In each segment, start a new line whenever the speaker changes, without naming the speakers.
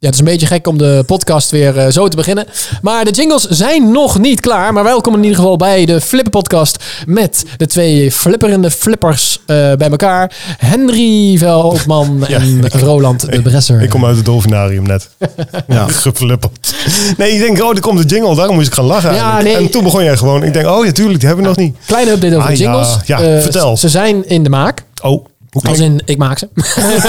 Ja, het is een beetje gek om de podcast weer eh, zo te beginnen. Maar de jingles zijn nog niet klaar. Maar welkom in ieder geval bij de Flipper Podcast. Met de twee flipperende flippers eh, bij elkaar. Henry Veldman
Ja,
en
ik-
Roland de Bresser.
Ik kom uit het dolfinarium net. Ja. Geflipperd. Nee, ik denk, oh, er komt de jingle. Daarom moest ik gaan lachen
Ja,
eigenlijk.
nee.
En toen begon jij gewoon. Ik denk, oh ja, tuurlijk, die hebben we nog niet.
Kleine update over
Ah,
de jingles.
ja. Ja,
Eh,
vertel.
Ze zijn in de maak.
Oh, hoe kan
Als in, ik maak ze.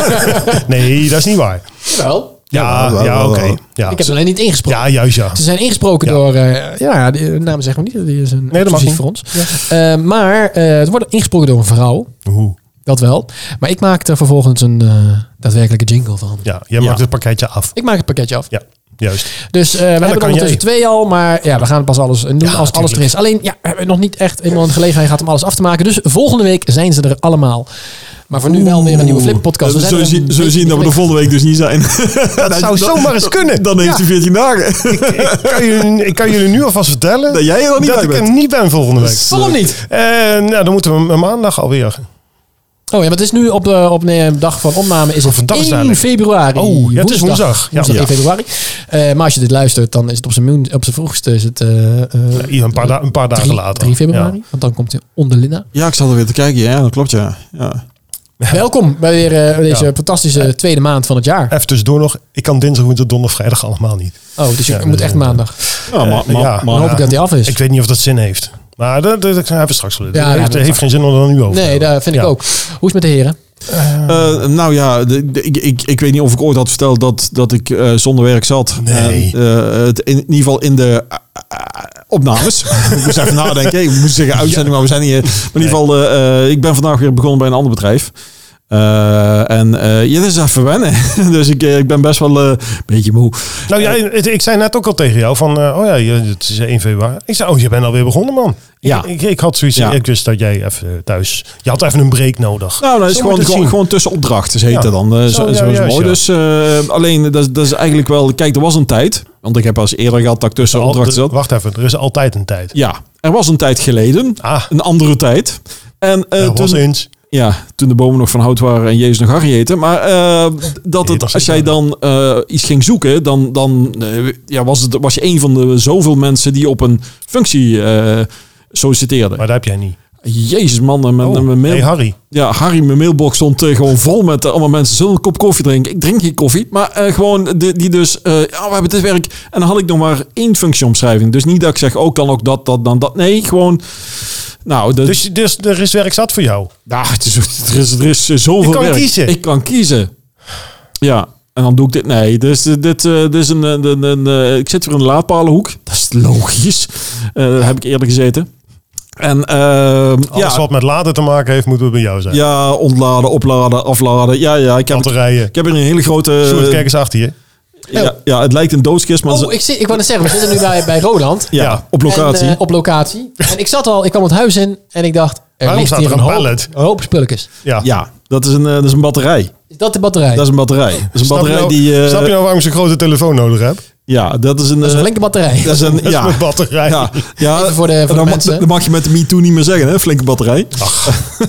Nee, dat is niet waar.
Jawel.
Ja,
Ja,
ja,
wel, wel,
oké.
wel.
Ja.
Ik heb Dus- ze alleen niet ingesproken.
ja, juist ja.
Ze zijn ingesproken
Ja.
door... eh, ja, de naam zeggen we niet. Die is een
Nee, dat mag
exclusief voor ons. Eh, maar eh, het wordt ingesproken door een vrouw.
Oeh.
Dat wel. Maar ik maak er vervolgens een eh, daadwerkelijke jingle van.
Ja, jij
Ja.
maakt het pakketje af.
Ik maak het pakketje af.
Ja, juist.
Dus eh we hebben er
kan
ondertussen
jij.
twee al. Maar ja, we gaan pas alles doen als alles er
natuurlijk.
is. Alleen, ja, we hebben nog niet echt helemaal een gelegenheid gehad om alles af te maken. Dus volgende week zijn ze er allemaal. Maar voor nu wel weer een nieuwe Flip podcast.
Eh,
Zo, zien, zo zien dat we de volgende week dus niet zijn.
Dat zou zomaar eens kunnen.
Dan heeft hij 14 dagen.
Ik kan jullie, ik kan jullie nu alvast vertellen
Dat jij er al niet
dat
bij
ik
bent.
er niet ben volgende week.
Dus, eh,
Waarom niet?
En nou, dan moeten we hem- hem maandag alweer.
Oh ja, want het is nu op de op de dag van opname is het
Of een dag is het
1
Oh, eigenlijk.
februari.
Oh, ja, het is woensdag. Ja.
Woensdag
Ja.
1 februari. Eh, maar als je dit luistert, dan is het op zijn, min- op zijn vroegste is het, eh, eh,
Hier een paar, da- een paar dagen
3,
later.
3 februari.
Ja.
Want dan komt hij onder Linda.
Ja, ik zat er weer te kijken. Ja, dat klopt ja. ja.
Welkom bij weer eh, deze
Ja.
fantastische tweede maand van het jaar.
Even tussendoor nog. Ik kan dinsdag, woensdag, donderdag, vrijdag allemaal niet.
Oh, dus je
Ja,
moet
dus,
echt
eh,
maandag.
Ja, maar,
Eh,
maar,
ja.
maar-
Dan hoop
ja.
ik dat hij af is.
Ik weet niet of dat zin heeft. Maar dat, dat, dat gaan we even straks wel doen.
Ja,
Het
ja,
heeft,
dat-
heeft geen zin om er dan nu over te
nee,
hebben.
dat vind ik
Ja.
ook. Hoe is het met de heren?
Eh, nou ja, de- de- ik, ik, ik weet niet of ik ooit had verteld dat, dat ik eh, zonder werk zat.
Nee.
En, eh, het in, in ieder geval in de eh, eh, opnames. ik moest even nadenken. Ik moest zeggen uitzending, maar we zijn niet. eh, Maar in ieder geval, eh, eh, ik ben vandaag weer begonnen bij een ander bedrijf. Eh, en eh ja, dat is even wennen. dus ik, eh, ik ben best wel eh, een beetje moe.
Nou ja, het- ik zei net ook al tegen jou van, eh, oh ja, je- het is 1 februari. Ik zei, oh, je bent alweer begonnen, man.
Ja.
Ik, ik, ik had zoiets,
Ja.
ik wist dat jij even eh, thuis, je had even een break nodig.
Nou, dat is
Zo
gewoon,
moet het
gewoon,
zien.
gewoon tussen opdrachten, heet
Ja.
dat dan. Eh,
Zo, ja,
zo, zo is het
juist,
mooi.
ja.
Dus eh, alleen, dat, is- dat is eigenlijk wel... Kijk, er was een tijd. Want ik heb al eens eerder gehad dat ik tussen
Al-
opdrachten
de-
zat.
wacht even, er is altijd een tijd.
Ja, er was een tijd geleden.
Ah,
Een andere tijd. En eh,
dat was
toen,
eens.
ja, toen de bomen nog van hout waren en Jezus nog harry heten. Maar eh, dat
Nee,
het,
dat
als
is
jij
niet
dan eh, iets ging zoeken, dan, dan eh, ja, was, het, was je een van de zoveel mensen die op een functie eh, solliciteerden.
Maar dat heb jij niet.
Jezus man, en mijn,
Oh,
en mijn mail,
hey Harry.
ja, Harry, mijn mailbox stond eh, gewoon vol met eh, allemaal mensen. Zullen we een kop koffie drinken? Ik drink geen koffie. Maar eh, gewoon de, die dus, eh, ja, we hebben dit werk. En dan had ik nog maar één functieomschrijving. Dus niet dat ik zeg, ook kan ook dat, dat, dan dat. Nee, gewoon, nou, dat,
Dus, dus er is werk zat voor jou.
ja, het is, er, is, er is zoveel
Je kan
werk.
kiezen.
Ik kan kiezen. Ja, en dan doe ik dit. Nee, dus dit, dit, eh, dit is een, een, een, een, eh, Ik zit weer in de laadpalenhoek. Dat is logisch. Eh, daar heb ik eerder gezeten. En ehm
Alles
ja,
wat met laden te maken heeft, moeten we bij jou zijn.
ja, ontladen, opladen, afladen. Ja, ja, ik heb, het-
Batterijen.
ik heb er een hele grote...
Sjoerd, kijk eens achter je.
ja, ja, het lijkt een doodskist, maar...
Oh,
ze-
ik, zit, ik wou net zeggen, we zitten nu bij, bij Roland.
ja,
ja.
op locatie.
En, eh, op locatie. En ik zat al, ik kwam het huis in en ik dacht, er
Waarom
ligt
staat
hier
er
een
een
hoop,
pallet?
een hoop spulletjes.
Ja.
ja, dat is, een, eh, dat is een batterij.
Is dat de batterij?
Dat is een batterij. Dat is een
Snap, je
batterij
nou,
die... eh,
snap je nou waarom ik zo'n grote telefoon nodig heb?
Ja, dat is een...
Dat is
eh,
een flinke batterij.
dat is een,
Dat is
ja,
mijn batterij.
ja, ja.
Even voor de- voor
En
de
dan, mag-
mensen.
dan mag je met de MeToo niet meer zeggen, hè? Flinke batterij.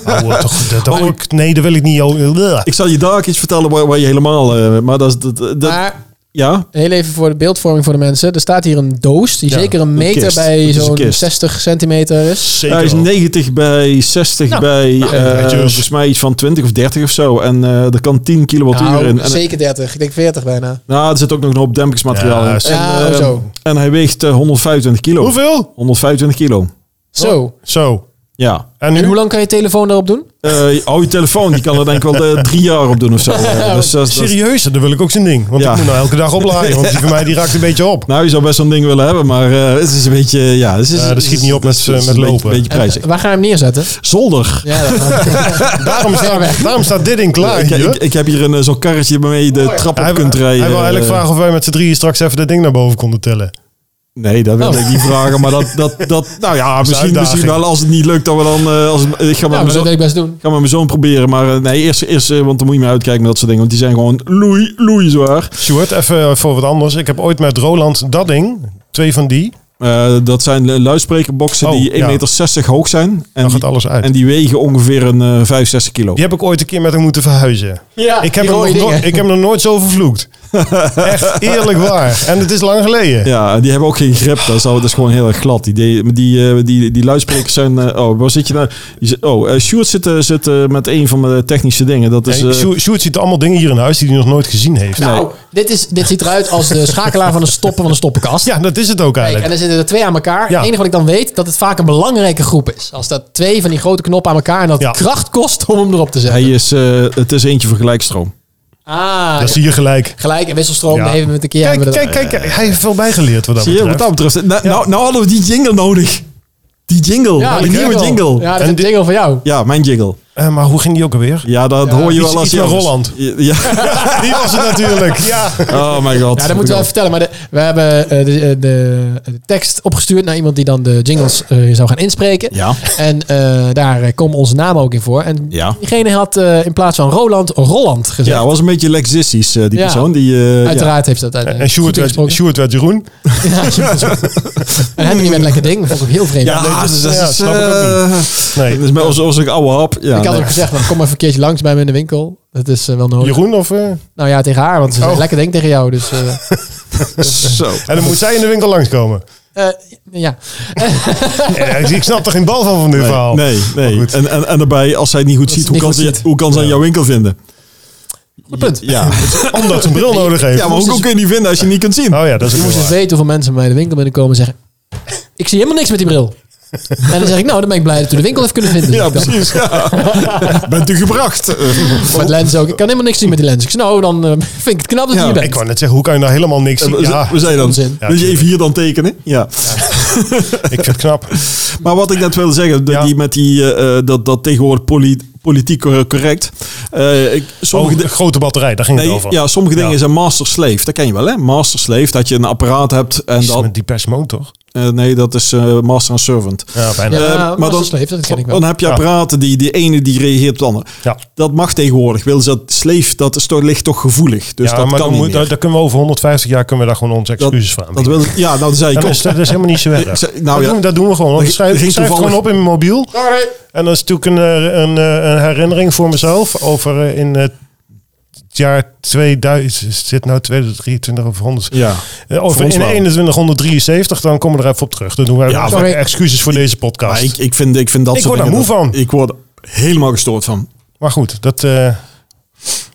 Ouwe, Oh, toch, dat, dat
Maar-
wil ik- nee, dat wil ik niet. joh. Bleh.
Ik zal je daar ook iets vertellen waar, waar je helemaal... eh, maar dat is... Dat, dat-
maar
ja,
heel even voor de beeldvorming voor de mensen. Er staat hier een doos die
Ja,
zeker een
een
meter
kist. Het
bij
is een
zo'n
kist.
60 centimeter is.
Zeker
hij is
wel. Nou,
90 bij 60
Nou.
bij... eh,
netjes.
volgens mij iets van 20 of 30 of zo. En eh, er kan 10 kilowattuur
Nou,
in. En,
zeker 30. Ik denk 40 bijna.
nou, er zit ook nog een hoop dempingsmateriaal
Ja,
in.
zo.
En,
Ja,
eh,
zo.
en hij weegt eh, 125 kilo.
Hoeveel?
125 kilo.
Zo.
Zo.
Ja.
En
En
nu?
hoe lang kan je telefoon daarop doen?
Eh oh, je telefoon, die kan er denk ik wel eh, drie jaar op doen of zo. Eh, dus, dat is- dat is-
Serieus, dan wil ik ook zo'n ding. Want
Ja.
ik moet nou elke dag opladen. Want die van mij die raakt een beetje op.
nou, je zou best zo'n ding willen hebben, maar eh, het is een beetje... Ja, het is,
Ja, dat schiet niet op met, eh,
het is- het is
met
een beetje-
lopen.
beetje
En,
prijzig.
eh, waar ga je hem neerzetten?
Zolder.
Ja, dat-
Daarom staat, daarom staat dit ding klaar.
ik,
hier.
ik, ik heb hier een eh, zo'n karretje waarmee je de trap op
hij, wil-
kunt
hij
rijden.
wil eigenlijk
Eh,
vragen of wij met z'n drieën straks even dat ding naar boven konden tillen.
Nee, dat wil
Oh.
ik niet vragen. Maar dat, dat, dat nou ja, misschien,
uitdaging.
misschien wel als het niet lukt, dat we dan... eh, als, het- ik ga met
nou,
mijn
maar dat
zoon-
wil ik best doen.
ik ga met mijn zoon proberen, maar eh, nee, eerst, eerst eh, want dan moet je me uitkijken met dat soort dingen. Want die zijn gewoon loei, loei zwaar.
Sjoerd, even eh, voor wat anders. Ik heb ooit met Roland dat ding, twee van die,
Eh, dat zijn eh, luidsprekerboxen
Oh,
die 1,60
ja.
meter hoog zijn. En
dan
die,
gaat alles
en
uit.
die wegen ongeveer een eh 65 kilo.
Die heb ik ooit een keer met hem moeten verhuizen.
Ja,
Ik heb, hem nog
mooie
nooit- ik heb hem nog nooit zo vervloekt. Echt eerlijk waar. En het is lang geleden.
Ja, die hebben ook geen grip. Dat is, al- dat is gewoon heel erg glad. Die, die, die, eh, die, die luidsprekers zijn... eh, oh, waar zit je nou? Je zit- Oh, eh, Sjoerd zit, eh, zit eh, met een van de technische dingen. Dat is...
Hey,
eh,
Sjoerd- Sjoerd ziet allemaal dingen hier in huis die hij nog nooit gezien heeft.
Nou, dit, is, dit ziet eruit als de schakelaar van een stoppen van een stoppenkast.
Ja, dat is het ook
Kijk, en
eigenlijk.
dan zitten er twee aan elkaar.
Ja.
Het enige wat ik dan weet, dat het vaak een belangrijke groep is. Als dat twee van die grote knoppen aan elkaar en dat het
Ja.
kracht kost om hem erop te zetten.
hij is, eh, het is eentje voor gelijkstroom.
Ah,
Dat zie je gelijk.
gelijk en wisselstroom,
Ja.
daar hebben we het een keer.
Kijk,
hebben we dat-
kijk, kijk, kijk, hij heeft veel bijgeleerd wat dat
Zie je, wat
betreft.
dat betreft... Nou, nou, nou hadden we die jingle nodig. Die jingle.
Oh,
Ja,
die
die
nieuwe jingle. Ja.
Ja, dat
En
is een
die-
jingle van jou.
mijn jingle.
Eh, maar hoe ging die ook alweer?
Ja, dat
Ja,
hoor je
iets-
wel als
iets
je...
van
anders-
Roland.
Ja.
Die was het natuurlijk. Ja.
Oh my god.
Ja, dat moeten we even vertellen. Maar de- we hebben eh, de, eh, de, de tekst opgestuurd naar iemand die dan de jingles eh, zou gaan inspreken.
Ja.
En eh, daar eh, kwam onze naam ook in voor. En
Ja.
diegene had eh, in plaats van Roland, Roland gezegd.
Ja, het was een beetje lexistisch, eh, die
Ja.
persoon. Die, eh, ja.
Uiteraard heeft dat uiteindelijk
En Sjoerd
goed
werd,
ingesproken.
Sjoerd werd Jeroen.
Ja, en Henry met lekker ding. Dat vond ik ook heel vreemd.
Ja,
nee, dat
dat
is-
is... Dat
ja,
is,
snap ik ook
eh,
Nee.
dat is met ons- onze oude hap. Ja,
ik had
nee.
ook gezegd, maar kom even een keertje langs bij me in de winkel. Dat is eh, wel nodig.
Jeroen of... eh,
Nou ja, tegen haar, want ze zei
Oh.
lekker ding tegen jou. Dus eh,
Zo.
En dan moet zij in de winkel langskomen.
eh, ja.
Eh, ik snap er geen bal van van dit verhaal.
Nee, nee.
goed.
En, en, en daarbij, als zij het niet goed ziet,
het
hoe
niet
kan,
goed
ze,
ziet.
hoe kan ze aan jouw winkel vinden?
Goed punt.
Ja,
Omdat ze een bril nodig heeft.
ja maar hoe hoe kun je die vinden als je niet kunt zien?
Oh ja, dat is
Je moest
ook wel
eens
waar.
weten hoeveel mensen bij mij de winkel binnenkomen en zeggen... Ik zie helemaal niks met die bril. En dan zeg ik, nou, dan ben ik blij dat u de winkel heeft kunnen vinden.
Ja,
Zeg ik dan.
precies. ja. Bent u gebracht? Eh,
Of met lens ook. Ik kan helemaal niks zien met die lens. Ik zeg, nou, dan eh, vind ik het knap dat je
Ja,
hier bent.
Ik wou net zeggen, hoe kan je nou helemaal niks zien? Ja,
We zijn dan.
onzin.
Dat je even hier dan tekenen. Ja.
ik vind het knap.
Maar wat ik net wilde zeggen, dat
Ja.
die met die, eh, eh, dat, dat tegenwoordig poli- politiek cor- correct. eh, ik, sommige,
Oh,
di-
de grote batterij, daar ging het
nee,
over.
ja, sommige dingen
Ja.
zijn master slave. Dat ken je wel, hè? Master slave, dat je een apparaat hebt en
Is het
dat.
met die persmoon toch?
eh, nee, dat is eh, master en servant.
Ja, bijna.
Ja,
Eh,
maar
maar
dan,
dan-
sleep, dat ken ik wel.
Dan heb je
Ja.
apparaten die die ene die reageert op de andere.
Ja.
Dat mag tegenwoordig. Wil ze dat sleef, dat is toch, ligt toch gevoelig. Dus
ja,
dat
maar
kan
dan
niet
moet,
meer.
daar, daar kunnen we over 150 jaar kunnen we daar gewoon onze
dat,
excuses van.
dat wil, ja, nou, dat zei ik
dat,
ook.
is, dat is helemaal niet zo weg.
Ik zei- nou
dat,
ja.
doen, we- dat doen we gewoon.
Er
Ik
ging-
schrijf,
er
ik
ging
schrijf het gewoon op
toevallig-
in mijn mobiel. En dat is natuurlijk een, eh, een, eh, een herinnering voor mezelf over eh, in eh, het jaar 2000, is dit nou 2023 of 100?
Ja.
Eh, Of
Voor ons
in
wel.
2173, dan komen we er even op terug. Dan doen wij
Ja,
even
maar-
excuses voor deze podcast.
Maar ik, ik, vind, ik vind dat
Ik
soort
word daar
dingen-
moe van.
Ik word helemaal gestoord van.
Maar goed, dat... eh, ja,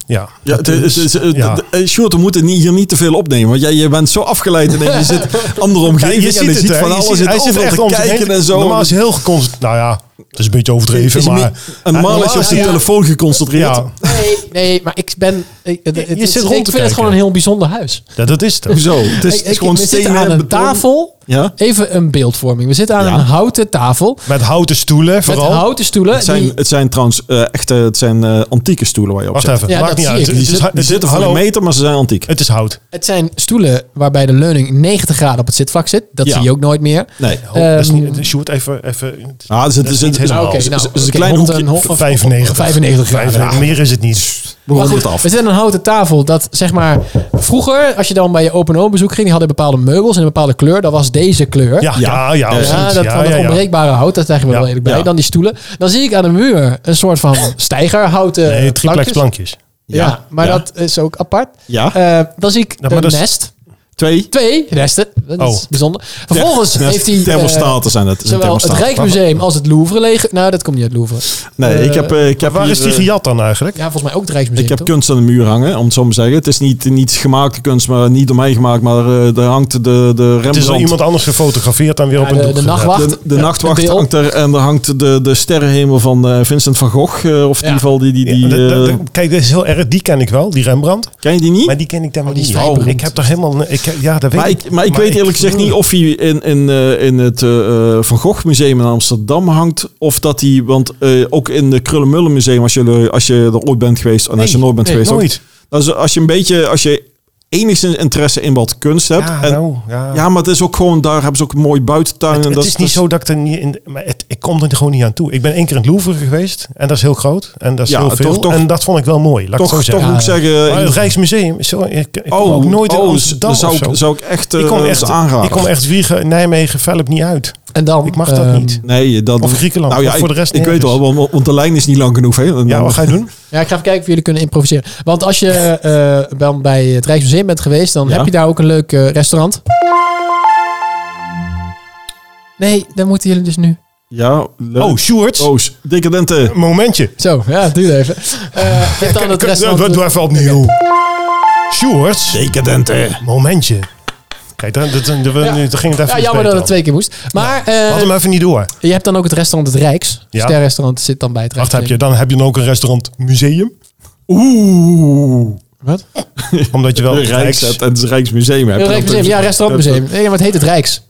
Ja,
dat
het is- het is-
ja.
het- eh, Sjoerd, we moeten niet- hier niet te veel opnemen. Want jij je bent zo afgeleid. En je zit in andere omgeving. en je ziet
hè?
van
Je
alles.
ziet-
zit
hij zit
overal
echt
te
om zich
kijken
heen.
en zo.
Normaal is hij heel geconcentreerd. Nou ja, dat is een beetje overdreven,
Is hij
maar...
niet- en normaal is je op
hij-
je telefoon geconcentreerd.
Ja,
Nee, nee, maar ik ben... Ik, het-
Je- je
het is-
zit rond
ik
te
vind het
kijken.
gewoon een heel bijzonder huis.
ja, dat is het.
Zo, Dus het is,
Ik-
het is
ik-
gewoon
we zitten
stenen
aan een
beton.
tafel.
Ja.
Even een beeldvorming. We zitten aan
Ja.
een houten tafel.
Met houten stoelen, vooral.
Met houten stoelen.
Het zijn,
die-
het zijn trouwens eh, echte het zijn, eh, antieke stoelen waar je op
Wacht
zit.
even,
Ja, dat
maakt niet
zie
uit.
ik.
Het
Die
is-
zit-
het
die
is-
zitten van
hallo,
een meter, maar ze zijn antiek.
Het is hout.
Het zijn stoelen waarbij de leuning 90 graden op het zitvlak zit. Dat
Ja.
zie je ook nooit meer.
Nee.
Oh, dat is
Ehm,
niet, Sjoerd, even... even
Ah, er zit, er zit,
niet helemaal.
Nou, oké,
is-
nou,
is- is een
oké,
klein
hond-
hoekje.
een hond-
95.
95 graden.
95, Meer is het niet.
we ronden
Maar goed,
het af.
We zitten aan een houten tafel dat zeg maar vroeger, als je dan bij je open oom bezoek ging, die hadden bepaalde meubels en een bepaalde kleur. Dat was deze kleur.
Ja, ja, ja.
Ja,
absoluut.
dat,
ja,
van dat
ja, ja.
onbreekbare hout, dat zeggen we
Ja,
wel eerlijk bij.
ja.
Dan die stoelen. Dan zie ik aan de muur een soort van stijgerhouten
Nee, triplex
plankjes.
plankjes.
Ja,
Ja,
maar
ja.
dat is ook apart.
Ja.
Eh, dan zie ik
Ja, maar
een
dat is-
nest.
Twee.
Twee nesten. Dat is
Oh.
bijzonder. Vervolgens
Ja,
heeft hij... eh,
Thermostaten zijn het.
Zowel het Rijksmuseum als het Louvre leeg. Nou, dat komt niet uit het Louvre.
Nee, ik heb, eh, ik heb
Waar
hier,
is die
eh,
gejat dan eigenlijk?
Ja, volgens mij ook het Rijksmuseum.
Dus Ik heb
toch?
kunst aan de muur hangen, om het zo maar te zeggen. Het is niet, niet gemaakte kunst, maar niet door mij gemaakt. Maar eh daar hangt de, de
Het is al
Rembrandt,
iemand anders gefotografeerd en weer op
Ja,
een
de,
doek
de
gezet.
nachtwacht.
de, de
Ja,
nachtwacht
beeld.
hangt er. En er hangt de, de sterrenhemel van eh, Vincent van Gogh. eh, of in
Ja.
ieder geval die... die,
Ja,
die
dat- dat-
eh,
dat- kijk, dat is heel erg. Die ken ik wel, die Rembrandt.
ken je die niet?
Maar die ken ik dan wel
die is
niet.
vrij
Oh,
beroemd.
ik heb toch helemaal... Ik, Mm. heb- ja, dat weet
Maar ik, maar ik weet eerlijk gezegd niet of hij in, in, eh, in het eh, eh, Van Gogh Museum in Amsterdam hangt. Of dat hij, want eh, ook in de Krullenmullen Museum, als je, als je er ooit bent geweest. En als je
Nee,
nooit bent
nee,
geweest. ook.
nooit.
Als, als je een beetje, als je enigszins interesse in wat kunst hebt.
Ja,
en-
nou, ja.
ja, maar het is ook gewoon, daar hebben ze ook een mooi buitentuin.
Het,
en
het
dat, dus
is niet
dat-
zo dat ik er niet in... Maar het, ik kom er gewoon niet aan toe. Ik ben één keer in het Louvre geweest. En dat is heel groot. En dat is
Ja,
heel
toch-
veel.
toch-
en dat vond ik wel mooi. Laat
Toch,
ik het zo
toch
zeggen.
moet ik zeggen.
Maar
in-
het Rijksmuseum... Zo, ik, ik kom ook nooit in
oh,
Amsterdam
dan zou,
of zo.
ik, zou ik echt,
ik kom
eh,
echt,
aanraden.
ik kom echt Wiegen, Nijmegen, Velp niet uit.
En dan,
Ik mag dat
ehm,
niet.
Nee, dat...
Of Griekenland,
Nou ja,
of voor de rest
ik, ik weet
nergens.
wel, want, want de lijn is niet lang genoeg. Hè? En
Ja,
dan-
wat ga je doen?
Ja, ik ga even kijken of jullie kunnen improviseren. Want als je eh, dan bij het Rijksmuseum bent geweest, dan
Ja.
heb je daar ook een leuk eh, restaurant. Nee, dan moeten jullie dus nu.
Ja, leuk.
Oh, Sjoerd.
Oos, decadente.
Momentje.
Zo, ja, duurde even. Eh je hebt dan het restaurant.
Doe even opnieuw. Sjoerd.
Decadente.
Momentje. Kijk, dan, dan, dan, dan, dan ging het even
ja,
iets
jammer dat
beter
het twee keer moest. Maar eh,
af. Had hem even niet door.
je hebt dan ook het restaurant Het Rijks.
Ja.
Sterrestaurant zit dan bij het
Wacht,
Rijks.
heb je, dan heb je dan ook een restaurant museum.
Oeh.
Wat?
Omdat je wel...
De Rijks,
Rijks-
het, het Rijksmuseum. Eh, hebt.
Het Rijksmuseum, ja, restaurantmuseum. Nee, maar het heet Het Rijks.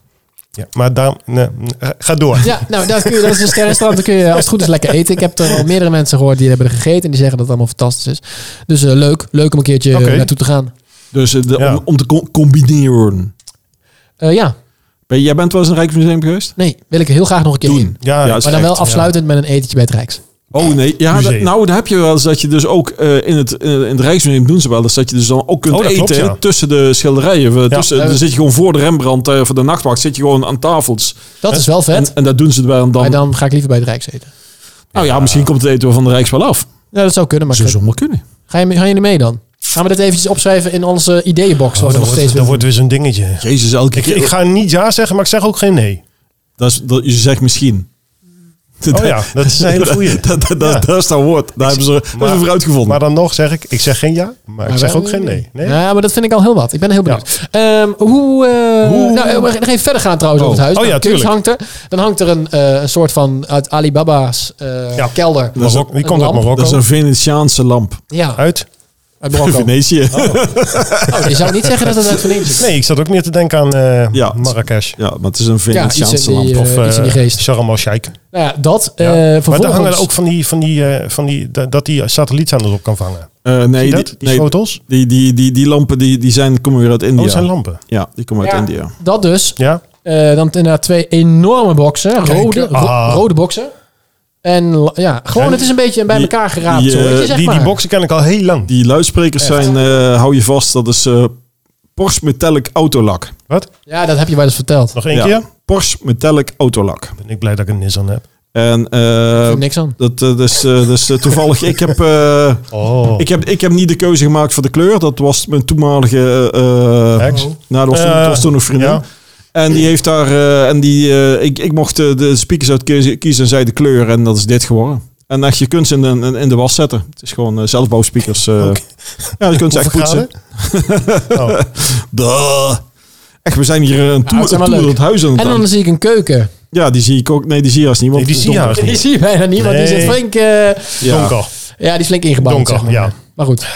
Ja, maar daar... nee, eh, ga door.
Ja, nou, dat, kun je, dat is een sterrenstrand. Dan kun je als het goed is lekker eten. Ik heb er al meerdere mensen gehoord die hebben er gegeten. En die zeggen dat het allemaal fantastisch is. Dus eh, leuk. Leuk om een keertje eh,
Oké.
naartoe te gaan.
Dus eh, de-
Ja.
om, om te co- combineren.
Eh, ja,
Ben, jij bent wel eens in het Rijksmuseum geweest?
nee. Wil ik heel graag nog een keer in.
Ja,
Ja,
Maar dan wel
echt,
afsluitend met een etentje bij het Rijks.
Oh nee, ja,
Museum.
dat- nou dan heb je wel eens dat je dus ook eh, in, het, in het Rijksmuseum doen ze wel eens dat je dus dan ook kunt
Oh, dat
eten
klopt, ja.
tussen de schilderijen. We- tussen,
Ja.
dan zit je gewoon voor de Rembrandt, eh, voor de nachtwacht, zit je gewoon aan tafels.
Dat is wel vet.
En, en dat doen ze wel dan.
maar dan ga ik liever bij het Rijks eten.
Nou ja, misschien komt het eten wel van de Rijks wel af.
Ja, dat zou kunnen. Maar
Zo
ga,
zou maar kunnen.
ga je, gaan jullie mee dan? Gaan we dit eventjes opschrijven in onze eh, ideeënbox?
Oh,
wat we
dat,
nog steeds
wordt, dat
willen
wordt weer zo'n dingetje.
Jezus, elke
Ik,
keer.
ik ga niet ja zeggen, maar ik zeg ook geen nee.
dat is, dat, je zegt misschien.
Oh ja, dat is een hele goeie.
dat, dat, dat,
Ja.
dat is dat woord. Daar hebben ze, daar hebben ze voor uitgevonden.
Maar dan nog zeg ik, ik zeg geen ja, maar ik
Maar
zeg
wij-
ook geen nee. nee?
Ja, maar dat vind ik al heel wat. Ik ben heel benieuwd. Ehm, hoe, eh,
Hoe-
Nou, eh, we gaan nog even verder gaan trouwens
Oh.
over het huis.
Oh ja,
Nou, kunst
tuurlijk.
hangt er. Dan hangt er een, eh, een soort van uit Alibaba's eh,
Ja.
kelder.
Marok-
Een
die komt uit
lamp.
Marokko.
dat is een Venetiaanse lamp.
Ja,
Uit?
uit Marokko.
Venetië.
Oh, je zou niet zeggen dat het uit Venetië is.
Nee, ik zat ook meer te denken aan eh
Ja.
Marrakesh.
Ja, maar het is een
Ja, iets in
Venetiaanse
die,
lamp.
eh,
Of
iets in die
eh
geest.
Sharm el-Sheikh.
Nou ja, dat
Ja.
eh
maar daar
vervolgens...
hangen ook van die, van die, eh, van die, dat dat die satellietzenders op kan vangen.
Eh,
Zie
nee,
je
die,
dat? Die
nee,
schotels?
Die, die, die, die lampen die, die zijn, komen weer uit
Oh,
India.
dat zijn lampen.
ja, die komen uit
Ja.
India.
Dat dus.
Ja?
Eh, dan inderdaad twee enorme boxen. rode, ro-
ah.
rode boxen. En la- ja, gewoon
Ja,
het is een beetje een bij
die-
elkaar geraapt
die, eh,
soortje, zeg
Die, die
maar.
boxen ken ik al heel lang.
Die luidsprekers zijn, eh, hou je vast, dat is eh Porsche Metallic Autolak.
Wat?
Ja, dat heb je wel eens verteld.
Nog één
Ja.
keer?
Porsche Metallic Autolak.
Ben ik blij dat ik een Nissan heb.
En
Ik
eh,
vind niks aan.
dat, eh, dus, eh, dus, eh, toevallig, ik heb, eh,
Oh.
ik, heb, ik heb niet de keuze gemaakt voor de kleur. Dat was mijn toenmalige... eh, eh,
Ex.
nou, dat was, toen-
Eh,
dat was toen een vriendin.
ja.
En die heeft daar... eh, en die, eh, ik, ik mocht eh, de speakers uit kiezen, kiezen en zij de kleur. En dat is dit geworden. En echt, je kunt ze in de, in de was zetten. Het is gewoon eh, zelfbouwspeakers. eh. Ja, je kunt ze echt
Hoeveel
poetsen.
graden? Oh.
Duh. Echt, we zijn hier eh, een tour,
het zijn wel
een tour door
leuk.
het huis aan het
En
doen.
dan zie ik een keuken.
Ja, die zie ik ook. Nee, die zie je als niet. Want
Nee, die
het
zie je
is
haast
donker.
Die
niet.
zie je bijna niet, want die
Nee.
zit flink... eh,
Ja.
Donker.
ja, die is flink ingebouwd.
Donker,
zeg maar.
ja.
Maar goed.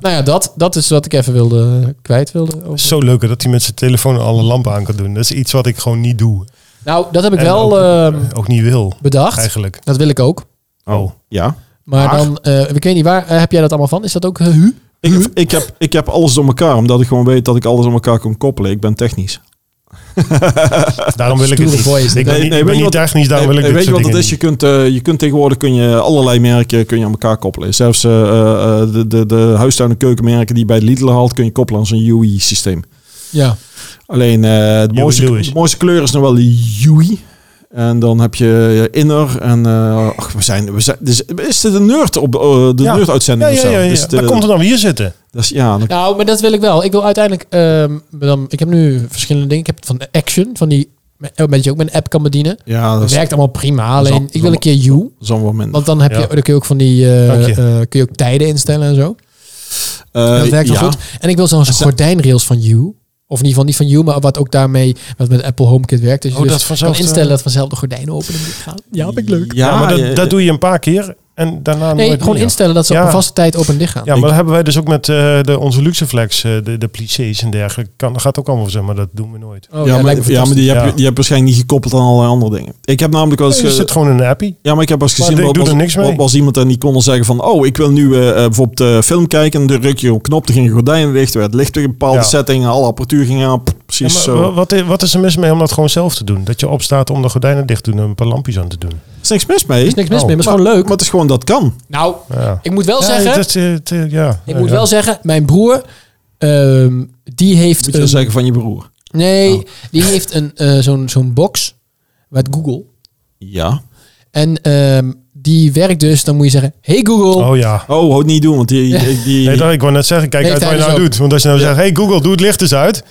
Nou ja, dat, dat is wat ik even wilde, eh, kwijt wilde. over-
Zo leuk dat hij met zijn telefoon alle lampen aan kan doen. Dat is iets wat ik gewoon niet doe.
Nou, dat heb ik
En
wel
ook,
ehm,
ook niet wil,
bedacht.
eigenlijk.
Dat wil ik ook.
Oh.
Ja.
Maar
Maar?
dan, eh, ik weet niet waar, eh, heb jij dat allemaal van? Is dat ook eh, hu?
Mhm.
Ik, ik, heb, ik heb alles door elkaar, omdat ik gewoon weet dat ik alles aan elkaar kan koppelen. Ik ben technisch.
Daarom wil ik het
Stoere
niet.
boy is
ik
dit.
ben
Nee,
niet,
nee,
ik ben
weet je
niet
wat-
technisch, daarom wil ik
Eh,
dit
weet je
soort
wat het
dingen
is? Je kunt, eh, je kunt tegenwoordig kun je allerlei merken kun je aan elkaar koppelen. Zelfs eh, eh, eh, de, de, de huistuin- en keukenmerken die je bij de Lidl haalt, kun je koppelen aan zo'n UI-systeem.
Ja.
Alleen eh, de,
Huey
mooiste,
Lewis.
de mooiste kleur is nog wel de Yui. En dan heb je eh, Inner. En eh, ach, we zijn, we zijn, dus, is dit een nerd op eh, de
Ja.
nerd-uitzending
Ja,
of
ja,
zo?
ja, ja.
Dus de-
Daar komt er dan weer zitten.
dat is- ja, dan-
Nou, maar dat wil ik wel. Ik wil uiteindelijk. ehm, dan, ik heb nu verschillende dingen. Ik heb van de action, van die. Met je ook met een app kan bedienen.
ja, dat
Dat
is,
werkt allemaal prima.
dat
Alleen
is
ik wil een keer you.
dat is allemaal minder.
Want dan heb je,
Ja.
dan kun je ook van die. eh,
Dank je.
eh, kun je ook tijden instellen en zo.
Eh,
dat werkt wel
ja.
goed. En ik wil zo'n
ze-
gordijnrails van you. Of in ieder geval niet van you, maar wat ook daarmee. Wat met Apple HomeKit werkt. Dus
Oh,
je
dat
dus
vanzelf,
kan instellen
eh,
dat vanzelf de gordijnen openen. gaan. Ja, heb ik leuk.
Ja,
Ja, maar dat,
eh,
dat doe je een paar keer en daarna
Nee,
nooit
gewoon
meer.
instellen dat ze op
Ja.
een vaste tijd open en dicht gaan.
Ja, maar dat hebben wij dus ook met eh, de, onze Luxeflex, eh, de, de plissés en dergelijke. Kan, gaat ook allemaal zo, maar dat doen we nooit.
Oh,
ja,
lijkt
maar,
me
ja, maar die heb, je,
Ja.
die heb je waarschijnlijk niet gekoppeld aan allerlei andere dingen. Ik heb namelijk wel eens...
Dus er
ge-
zit gewoon een appie.
Ja, maar ik heb wel eens
Maar
gezien
ik
wat
doe
was,
er niks mee.
wat was iemand en die kon dan zeggen van... Oh, ik wil nu eh, eh, bijvoorbeeld eh, film kijken. En dan druk je op een knop, dan ging je gordijnen dicht. werd het licht weer een bepaalde
Ja.
setting. Alle apparatuur ging aan. p- Precies
Ja, maar
zo.
wa- wat, i- wat is er mis mee om dat gewoon zelf te doen? Dat je opstaat om de gordijnen dicht te doen en een paar lampjes aan te doen.
Er is niks mis mee.
Er is niks mis
Oh,
mee, maar het is gewoon leuk.
Maar het is gewoon, dat kan.
nou,
Ja.
ik moet wel
Ja,
zeggen.
dat, eh, het, eh, ja.
Ik
Ja,
moet
ja.
wel zeggen, mijn broer, ehm, die heeft
Moet je
een,
dan zeggen van je broer.
nee, die heeft een eh, zo'n zo'n box met Google.
Ja.
En ehm, die werkt dus, dan moet je zeggen, hey Google.
Oh ja.
Oh, houd niet doen, want die... die, die-
Nee, dat, ik wou net zeggen, kijk
Nee,
uit wat je
tijdens
nou
ook.
doet. Want als je nou zegt, hey Google, doe het licht eens uit.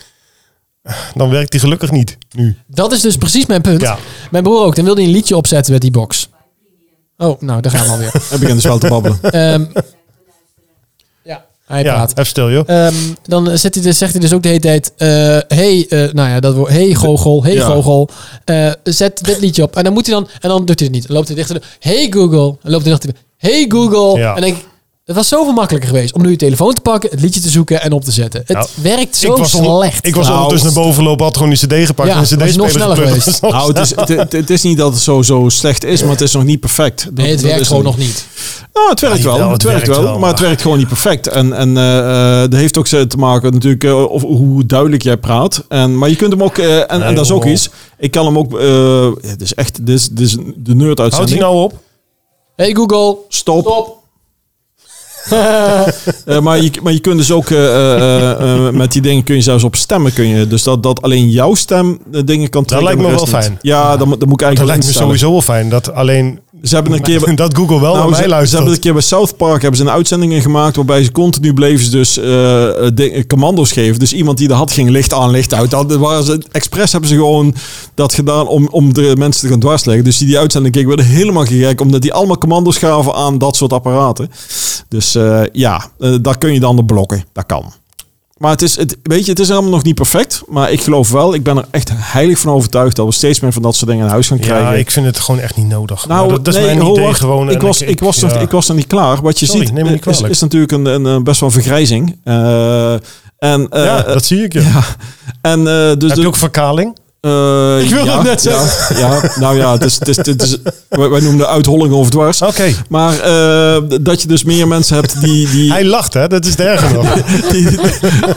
Dan werkt die gelukkig niet nu.
Dat is dus precies mijn punt.
Ja.
Mijn broer ook, dan wilde hij een liedje opzetten met die box. Oh, nou, daar gaan we alweer.
Heb ik in de spel te babbelen.
Ehm ja, hij
ja,
praat.
even stil joh.
Ehm, dan zit hij dus, zegt hij dus ook de hele tijd... eh, hey, eh, nou ja, dat woord, hey Google, hey
Ja.
Google, eh, zet dit liedje op. En dan moet hij dan, en dan doet hij het niet. Dan loopt hij dichter, hey Google, en loopt hij dichter, hey Google.
Ja.
En denk ik, het was zoveel makkelijker geweest om nu je telefoon te pakken, het liedje te zoeken en op te zetten. Het
Nou,
werkt zo
onder-
slecht.
ik was
Nou.
ondertussen naar boven lopen, had gewoon die cd gepakt
Ja,
en de
was nog
cd speler
sneller
geplukt.
geweest.
Dat was
Nou, het is, het, het- het is niet dat het zo, zo slecht is, maar het is nog niet perfect. Dat-
nee, het
dat
werkt
is
gewoon
niet.
nog niet.
Nou, het werkt
Ja,
wel.
Ah, jawel,
het werkt wel, maar het werkt gewoon niet perfect. En, en eh, eh, dat heeft ook te maken natuurlijk eh, of hoe duidelijk jij praat. En, maar je kunt hem ook, eh, en, en
Nee,
dat is ook
joh.
iets. Ik kan hem ook, eh, het is echt, dit is, dit is de nerd
Houdt hij
uitzending.
nou op?
Hey Google,
Stop.
stop.
Eh, maar, je, maar je kunt dus ook eh, eh, eh, eh, met die dingen kun je zelfs op stemmen kun je. Dus dat, dat alleen jouw stem eh, dingen kan trekken.
lijkt me
en de
wel
rest niet.
fijn.
Ja, dan, moet- dan moet ik
Dat
eigenlijk
lijkt me
instellen.
sowieso wel fijn. Dat alleen
Ze hebben een keer
dat Google wel
Nou,
naar
ze,
mij
ze
luistert.
hebben een keer bij South Park hebben ze een uitzending in gemaakt waarbij ze continu bleven ze dus eh, de- commando's geven. Dus iemand die er had ging licht aan, licht uit. Dat waren ze, expres hebben ze gewoon dat gedaan om, om de mensen te gaan dwarsleggen. Dus die, die uitzending keek werden helemaal gek omdat die allemaal commando's gaven aan dat soort apparaten. Dus eh, ja, eh, daar kun je dan de blokken. Dat kan. Maar het is, het, weet je, het is helemaal nog niet perfect. Maar ik geloof wel, ik ben er echt heilig van overtuigd dat we steeds meer van dat soort dingen in huis gaan
ja,
krijgen.
ik vind het gewoon echt niet nodig.
Nou,
Maar dat, dat is
nee,
mijn
hoor,
idee gewoon.
Ik
En
was, ik, was nog,
ja.
ik was nog niet klaar. Wat je
Sorry,
ziet
neem me niet
eh, is,
kwalijk.
is natuurlijk een, een, eh, best wel een vergrijzing. Eh, en, eh,
ja, dat zie ik. Ja.
en, eh, dus,
Heb
dus-
je ook verkaling?
eh,
Ik wilde
ja,
het net
ja, Ja, nou ja, het is, het is, het is, wij, wij noemden uitholling of dwars.
Oké.
Maar eh, dat je dus meer mensen hebt die, die,
Hij lacht, hè? Dat is de erge nog.
die,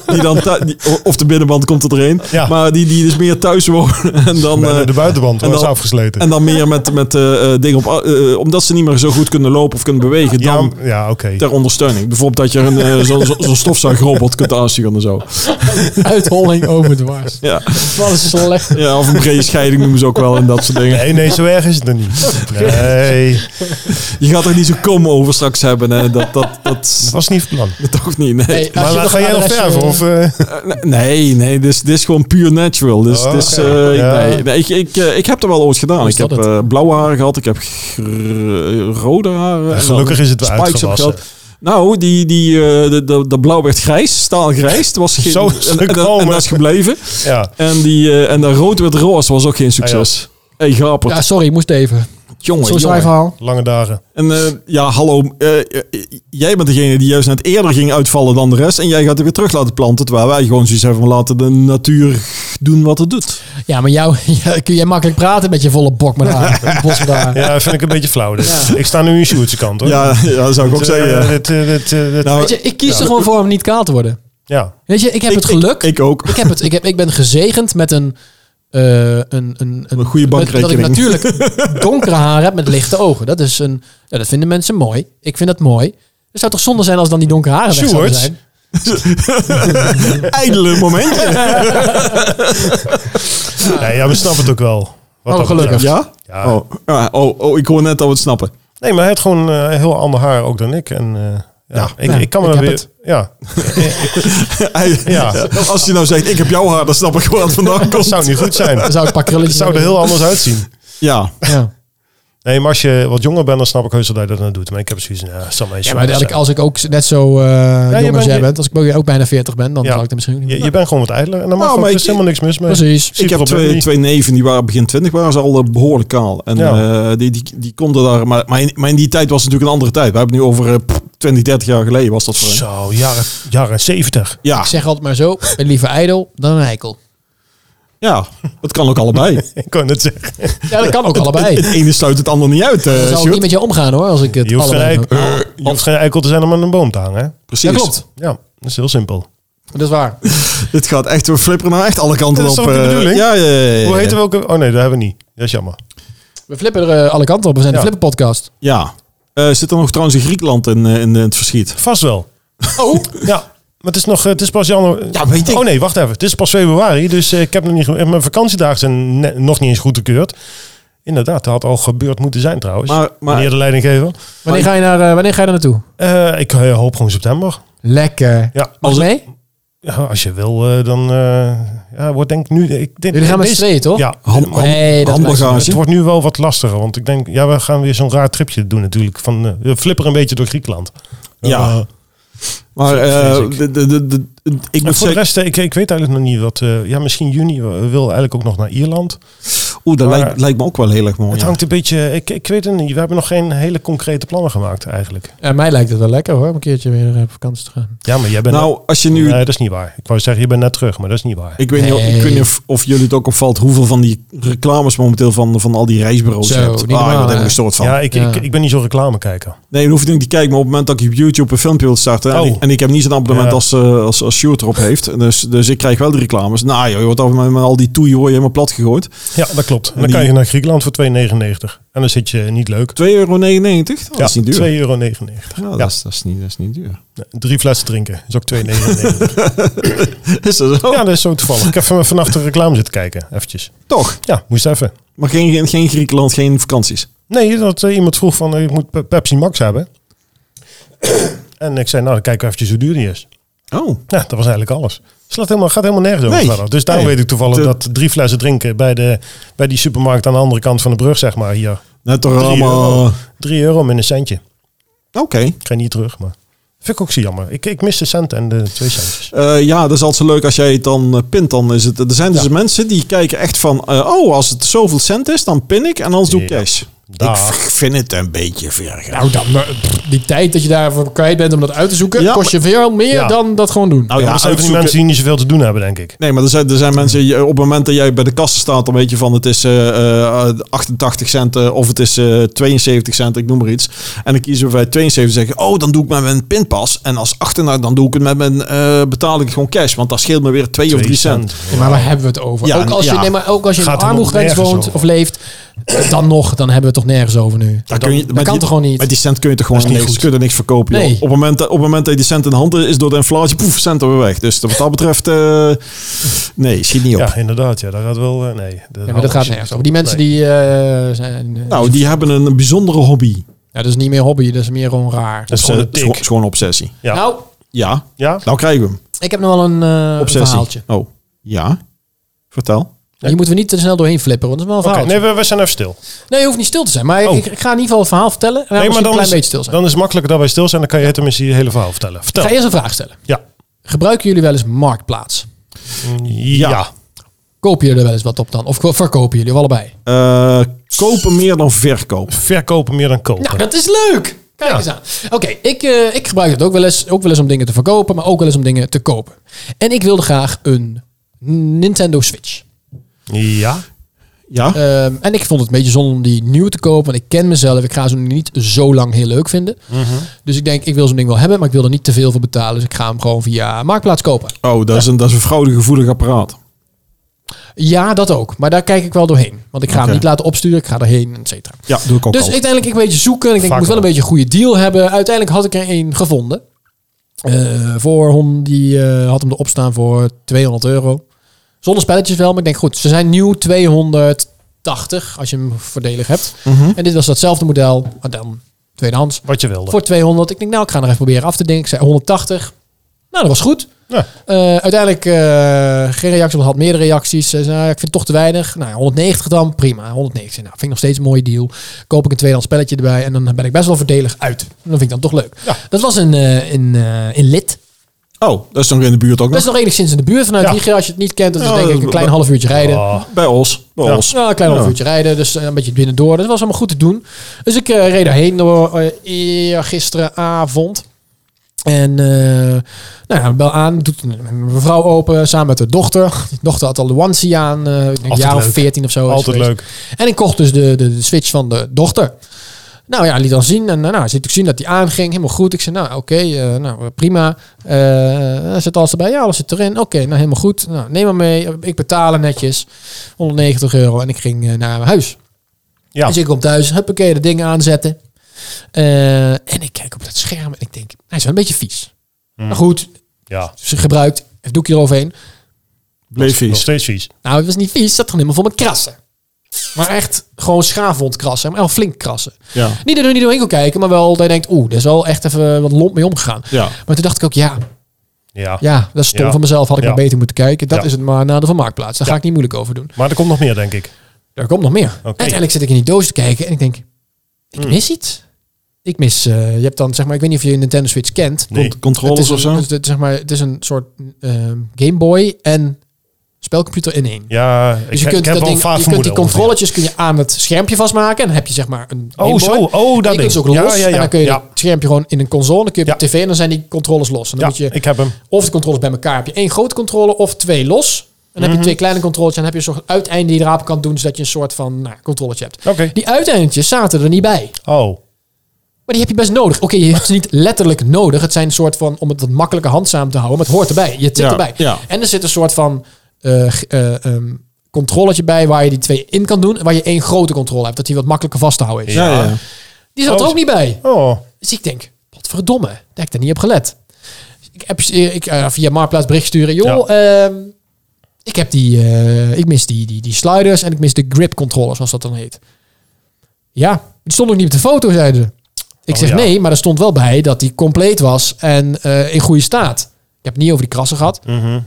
die dan thu- die- of de binnenband komt er een,
Ja.
maar die, die dus meer thuis wonen en dan
Bijna
eh,
de buitenband
en
was
dan-
afgesleten.
en dan meer met, met eh, eh, dingen op, eh, omdat ze niet meer zo goed kunnen lopen of kunnen bewegen,
ja,
dan
m- ja oké.
ter ondersteuning. Bijvoorbeeld dat je een, eh, zo- zo- zo'n stofzuigrobot kunt aansturen en zo.
Uitholling overdwars.
Ja.
Wat is slecht.
ja, of een brede scheiding noemen ze ook wel en dat soort dingen.
Nee, nee, zo erg is het er niet. Nee,
Je gaat er niet zo kom over straks hebben. Hè. Dat, dat,
dat
dat,
was niet het plan.
toch niet, nee.
Hey, als
Maar
je
waar
nog
ga
een
jij nog
adresje-
verven? Of, eh,
Nee, nee, dit is, dit is gewoon puur natural. Dus,
Oh,
dus,
oké.
eh,
Ja.
nee, nee, ik, ik, eh, ik heb er wel ooit gedaan.
Is
Ik heb
dat het?
eh, blauwe haren gehad, ik heb gr- rode haren. en
gelukkig
dan
is het wel
spikes heb
uitgewassen.
gehad. Nou, die, die, eh, de, de, de blauw werd grijs, staalgrijs. Het was geen,
Zo is
en, en,
het
dat- en
gekomen.
dat is gebleven.
ja.
En, die, eh, en dat rood werd roze was ook geen succes.
Ah,
Hé, hey, grappig.
Ja, sorry, moest even.
jongen,
Zo'n saai
jongen.
verhaal.
Lange dagen.
En eh, ja, hallo. eh, eh, jij bent degene die juist net eerder ging uitvallen dan de rest. En jij gaat er weer terug laten planten. Terwijl wij gewoon zoiets hebben van laten de natuur doen wat het doet.
Ja, maar jou ja, kun jij makkelijk praten met je volle bok met haar. Bos met haar.
Ja, vind ik een beetje flauw. dit. Ik sta nu in Sjoerdse kant, hoor.
Ja, ja, dat zou ik ook zeggen.
Eh,
ja.
dit, eh, dit, eh, dit-
Nou,
Weet je, ik kies er gewoon voor om niet kaal te worden.
ja.
Weet je, ik heb
ik-
het geluk.
Ik,
Ik,
ik ook.
heb het, ik, heb, ik ben gezegend met een... eh, een, een, een,
Een goede
met- Dat ik
bankrekening.
natuurlijk donkere haar heb met lichte ogen. Dat, is een, ja, dat vinden mensen mooi. Ik vind dat mooi. Het zou toch zonde zijn als dan die donkere haren weg zouden
Sjoerd?
zijn?
Ijdele momentje.
Nee, ja, we snappen het ook wel. Wat
Oh,
dat
gelukkig.
betreft.
Ja?
Ja.
Oh. Ah, oh, oh, ik hoor net dat we het snappen.
Nee, maar hij heeft gewoon eh, heel ander haar ook dan ik. En, eh, ja,
Ja.
ik,
Ja,
ik kan
ik
me
heb
weer...
het.
Ja,
Hij-
Ja.
Als je nou zegt, ik heb jouw haar, dan snap ik gewoon dat vandaan
dat
komt.
zou niet goed zijn.
Dan
Het
zou ik een paar krulletjes...
zou er heel anders uitzien.
Ja.
Ja.
Nee, maar als je wat jonger bent, dan snap ik heus wel dat je dat nou doet. Maar ik heb zoiets van, ja, zal mij
Ja, maar
zo
dat ik,
zijn.
als ik ook net zo eh jong
bent-
als jij
je-
bent, als ik ook bijna 40 ben, dan
Ja.
zal ik er misschien ook niet
je, je bent gewoon wat ijdeler. En daar
Nou,
mag ook
maar
dus
ik-
helemaal niks mis mee.
Precies.
Zie
Ik heb
het probleem
twee,
niet.
twee neven, die waren begin 20, waren ze al eh, behoorlijk kaal. En
Ja.
eh, die, die, die konden daar. Maar, maar, in, maar in die tijd was het natuurlijk een andere tijd. We hebben het nu over eh, pff, 20, 30 jaar geleden was dat voor hen.
Zo, jaren, jaren 70.
Ja,
Ik zeg altijd maar zo, ben liever ijdel dan een eikel.
ja, het kan ook allebei.
Ik kan het zeggen.
Ja, dat kan ook
Het
allebei.
ene sluit het ander niet uit.
Dan
eh,
zal ik
Sjoerd.
niet met jou omgaan hoor, als ik het
Eh, Je hoeft, geen
allebei
eikel,
doe.
je
Eh,
hoeft geen eikel te zijn om aan een boom te hangen. Hè?
Precies.
Ja, klopt.
Ja, dat is heel simpel.
Dat is waar.
Dit gaat echt, we flipperen nou echt alle kanten
Dat is
op.
toch de
eh,
bedoeling?
ja, ja, ja, ja,
Hoe
ja.
heten we ook? Oh nee, dat hebben we niet. Dat is jammer.
We flippen er eh, alle kanten op. We zijn
Ja.
de Flipperpodcast.
Ja. Eh, zit er nog trouwens in Griekenland in, eh, in, eh, het verschiet?
Vast wel.
Oh,
Ja, maar het is, nog, het is pas januari.
Ja, weet ik.
Oh nee, wacht even. Het is pas februari, dus eh, ik heb nog niet... ge- Mijn vakantiedagen zijn ne- nog niet eens goedgekeurd. Inderdaad, dat had al gebeurd moeten zijn trouwens.
Maar, maar
Meneer de leidinggever.
Wanneer ga je naar, eh, wanneer ga je daar naartoe?
Eh, ik eh, hoop gewoon september.
Lekker.
Ja,
Mag
Als-
ik mee?
ja, als je wil, eh, dan eh, ja, wordt denk ik nu... Ik, denk,
Jullie gaan met z'n
deze-
tweeën, toch?
Ja,
ham, ham,
Nee, dat
handbagage.
het wordt nu wel wat lastiger. Want ik denk, ja, we gaan weer zo'n raar tripje doen natuurlijk. Van, eh, we flipper een beetje door Griekenland.
Ja.
Eh,
Maar eh,
Vrees ik.
de, de, de, de- ik
En
moet
voor de
zeggen,
rest, eh, ik, ik weet eigenlijk nog niet wat. eh, ja, misschien juni eh, wil eigenlijk ook nog naar Ierland.
oeh, dat
maar-
lijkt, lijkt me ook wel heel erg mooi.
het
ja.
hangt een beetje. Ik, ik weet het niet. We hebben nog geen hele concrete plannen gemaakt eigenlijk.
Ja, mij lijkt het wel lekker hoor, om een keertje weer eh, op vakantie te gaan.
Ja, maar jij bent.
Nou, als je nu,
nee, dat is niet waar. Ik wou zeggen, je bent net terug, maar dat is niet waar.
ik weet niet,
Nee.
ik weet niet of, of jullie het ook opvalt hoeveel van die reclames momenteel van, van al die reisbureaus
Zo,
je hebt.
niet
Ah,
normaal,
ik word
hè?
er gestoord van.
ja, ik,
Ja.
Ik, ik ben niet zo'n reclamekijker.
Nee, dan hoef je niet te kijken. Maar op het moment dat ik op YouTube een filmpje wil starten... En,
Oh.
ik, en ik heb niet zo'n abonnement
Ja.
als, eh, als, als Sjoerd erop heeft. Dus, dus ik krijg wel de reclames. Nou joh, je wordt al met, met al die toeien hoor je helemaal plat gegooid.
Ja, dat klopt. En dan
die-
kan je naar Griekenland voor 2,99. En dan zit je niet leuk.
2,99 euro? dat
ja,
is niet duur.
2,99 euro. Nee,
Ja,
Ja.
Dat, is, dat, is niet, dat is niet duur.
Drie flessen drinken is ook 2,99.
Is dat zo?
ja, dat is zo toevallig. Ik heb van- vannacht de reclame zitten kijken, eventjes.
Toch?
Ja, moest even.
Maar geen, geen- geen Griekenland, geen vakanties.
Nee, dat eh, iemand vroeg van, eh, ik moet Pe- Pepsi Max hebben. en ik zei, nou, dan kijken we eventjes hoe duur die is.
Oh.
Ja, dat was eigenlijk alles. Het slaat helemaal, gaat helemaal nergens over
Nee.
verder. Dus daarom
Nee.
weet ik toevallig
De-
dat drie flessen drinken bij, de, bij die supermarkt aan de andere kant van de brug, zeg maar, hier.
Net toch
Drie
allemaal...
euro.
Oké.
Drie euro met een centje. Ik ga niet terug, maar vind ik ook zo jammer. Ik, ik mis de cent en de twee centjes.
Eh, ja, dat is altijd zo leuk als jij het dan eh, pint. Dan is het, er zijn dus
Ja.
mensen die kijken echt van... eh, oh, als het zoveel cent is, dan pin ik en anders doe ik
Ja.
cash.
Dag.
Ik v- vind het een beetje ver.
Nou, dan, maar, pff, die tijd dat je daarvoor kwijt bent om dat uit te zoeken,
Ja,
kost je veel meer
Ja.
dan dat gewoon doen.
Nou
Ja,
ja,
maar dat zijn van die
uitzoeken-
mensen die niet zoveel te doen hebben, denk ik.
Nee, maar er zijn, er zijn mensen, je- op het moment dat jij bij de kassa staat, dan weet je van het is eh, eh, 88 cent eh, of het is eh, 72 cent, ik noem maar iets. En dan kiezen we bij 72 zeggen, oh, dan doe ik met mijn pinpas. En als achternaar, dan doe ik het met mijn, eh, betaal ik gewoon cash, want dat scheelt me weer 2 of 3 cent.
Ja, maar waar hebben we het over?
Ja,
ook, als je,
ja.
nee, maar ook als je in
Gaat er nog
armoegrens
nergens
woont
over.
of leeft, eh, dan nog, dan hebben we het toch nergens over nu.
Daar kun je-
dat
met
kan
die-
toch gewoon niet?
Met die cent kun je toch gewoon
Dat is niet
niks,
goed.
kun je er niks verkopen. joh.
Nee.
Op, het moment, dat- op het moment dat je die cent in de hand is, door de inflatie, poef, cent er weer weg. Dus wat dat betreft, eh, nee, schiet niet op.
Ja, inderdaad. Ja, dat gaat wel... eh, nee, dat,
Ja, maar dat gaat nergens over. Die mensen die eh, zijn... eh,
Nou, die hebben een bijzondere hobby.
ja, dat is niet meer hobby, dat is meer gewoon raar.
Dat is gewoon een
Eh,
tik.
gewoon obsessie.
Ja.
Nou,
Ja,
Ja?
nou krijgen we hem.
ik heb nog wel een, eh, een
Obsessie.
verhaaltje.
Oh, ja. Vertel.
Die moeten we niet te snel doorheen flippen, want dat is wel een
Oké,
verhaaltje.
nee, we, we zijn even stil.
Nee, je hoeft niet stil te zijn. Maar ik-
Oh.
ik, ik ga in ieder geval het verhaal vertellen. En dan
nee,
misschien een klein
is,
beetje stil zijn.
dan is het makkelijker dat wij stil zijn. Dan kan je tenminste je hele verhaal vertellen.
Ik
Vertel.
ga eerst een vraag stellen.
Ja.
Gebruiken jullie wel eens Marktplaats?
Ja.
Ja.
Kopen jullie er wel eens wat op dan? Of verkopen jullie allebei?
Eh, kopen meer dan verkopen.
Verkopen meer dan kopen.
Nou, dat is leuk! Kijk
Ja.
eens aan. Oké, ik, eh, ik gebruik het ook wel, eens, ook wel eens om dingen te verkopen, maar ook wel eens om dingen te kopen. En ik wilde graag een Nintendo Switch.
Ja.
Ja?
Ehm, en ik vond het een beetje zonde om die nieuw te kopen. Want ik ken mezelf. Ik ga ze niet zo lang heel leuk vinden. Dus ik denk, ik wil zo'n ding wel hebben. Maar ik wil er niet te veel voor betalen. Dus ik ga hem gewoon via Marktplaats kopen.
Oh, dat is een, dat is een fraudegevoelig apparaat.
Ja, dat ook. Maar daar kijk ik wel doorheen. Want ik ga
Oké.
hem niet laten opsturen. Ik ga erheen, et cetera.
Ja, doe ik ook
Dus
al.
uiteindelijk ik een beetje zoeken. En ik denk,
Vaak
ik moet wel een
wel.
beetje een goede deal hebben. Uiteindelijk had ik er één gevonden. Eh, voor hon, die eh, had hem erop staan voor 200 euro. Zonder spelletjes wel, maar ik denk, goed, ze zijn nieuw 280 als je hem voordelig hebt.
Mhm.
En dit was datzelfde model, maar dan tweedehands.
Wat je wilde.
Voor 200. Ik denk, nou, ik ga nog even proberen af te denken. Ik zei 180. Nou, dat was goed.
Ja.
Eh, uiteindelijk eh, geen reactie, want had meerdere reacties. Ze zei, nou, ik vind het toch te weinig. Nou, 190 dan, prima. 190. Nou, vind ik nog steeds een mooie deal. Koop ik een tweedehands spelletje erbij en dan ben ik best wel voordelig uit.
Oh,
Dat vind ik dan toch leuk.
Ja.
Dat was in, eh, in, eh, in Lid.
Oh, dat is nog in de buurt ook
Best
nog.
nog enigszins in de buurt vanuit
Ja.
Ligia. Als je het niet kent, dat is
Ja,
denk ik een
dat-
klein half uurtje rijden.
Ah,
Bij ons. Bij
Ja.
ons.
Nou, een klein half
Ja.
uurtje rijden, dus eh, een beetje binnendoor. Dat was allemaal goed te doen. Dus ik eh, reed daarheen door eh, eer- gisteravond. En eh nou ja, bel aan, doet een een mevrouw open, samen met haar dochter. Die dochter had al de onesie aan, eh, ik denk een
Altijd
jaar of
leuk.
veertien of zo. is
altijd
geweest.
leuk.
En ik kocht dus de, de, de Switch van de dochter. Nou ja, liet dan zien. En eh, nou, ziet ik zien dat die aanging. Helemaal goed. Ik zei, nou oké, eh, nou, prima. Eh, zit alles erbij? Ja, alles zit erin. Oké, nou helemaal goed. Nou, neem maar mee. Ik betaal er netjes. 190 euro. En ik ging eh, naar mijn huis.
Ja.
Dus ik kom thuis. Huppakee, de dingen aanzetten. Eh, en ik kijk op dat scherm. En ik denk, hij is wel een beetje vies.
Mm.
Maar goed,
Ja.
ze gebruikt. Even doekje eroverheen.
Bleef
Nog
vies.
steeds vies.
Nou, het was niet vies. Het zat gewoon helemaal vol met krassen. Maar echt gewoon schaafwond krassen. Maar wel flink krassen.
Ja.
Niet dat je er niet doorheen kan kijken, maar wel dat je denkt... Oeh, daar is wel echt even wat lomp mee omgegaan.
Ja.
Maar toen dacht ik ook, ja,
Ja.
ja dat is stom
Ja.
van mezelf. Had ik
Ja.
maar beter moeten kijken. Dat
Ja.
is het maar nadeel van Marktplaats. Daar
Ja.
ga ik niet moeilijk over doen.
Maar er komt nog meer, denk ik.
Er komt nog meer. Uiteindelijk zit ik in die doos te kijken en ik denk... Ik
Hmm.
mis iets. Ik mis... eh, je hebt dan, zeg maar... Ik weet niet of je Nintendo Switch kent.
Nee.
Cont- Controllers
het
of
is een,
zo?
het- het- zeg maar, het is een soort ehm, Game Boy en spelcomputer in één.
Ja, ik,
Dus je
ik
kunt,
heb
dat
wel een
ding,
vaag
je kunt die
vermoeden ongeveer.
controlletjes kun je aan het schermpje vastmaken. En dan heb je zeg maar een
Oh,
Gameboy.
zo. Oh, dat
Die kun
ding.
je dus ook los.
Ja, ja, ja.
En dan kun je
Ja.
het schermpje gewoon in een console. Dan kun je op
Ja.
tv en dan zijn die controllers los. En dan
Ja,
moet je
ik heb hem.
of de controllers bij elkaar. Heb je één grote controle of twee los. En dan
Mhm.
heb je twee kleine controllers. En dan heb je een soort uiteinde die je erop kan doen. Zodat je een soort van nou, controlletje hebt.
Oké.
Die uiteindjes zaten er niet bij.
Oh,
Maar die heb je best nodig. Oké, je hebt ze niet letterlijk nodig. Het zijn een soort van, om het wat makkelijker handzaam te houden. Maar het hoort erbij. Je zit
Ja,
erbij.
ja.
En er zit een soort van eh g- eh, ehm, controletje bij waar je die twee in kan doen. En waar je één grote controle hebt. Dat die wat makkelijker vast te houden is.
Ja, ja. ja.
Die zat er
Oh,
ook niet bij.
oh.
Dus ik denk, wat verdomme. Dat heb ik daar niet op gelet. Ik heb eh, ik, eh, via Marktplaats bericht sturen. Joh, ehm, ik heb die, eh, ik mis die, die, die sliders en ik mis de grip controller, zoals dat dan heet. Ja, die stond ook niet op de foto, zeiden ze. Ik
Oh,
zeg
ja.
nee, maar er stond wel bij dat die compleet was en eh, in goede staat. Ik heb het niet over die krassen gehad.
Mhm.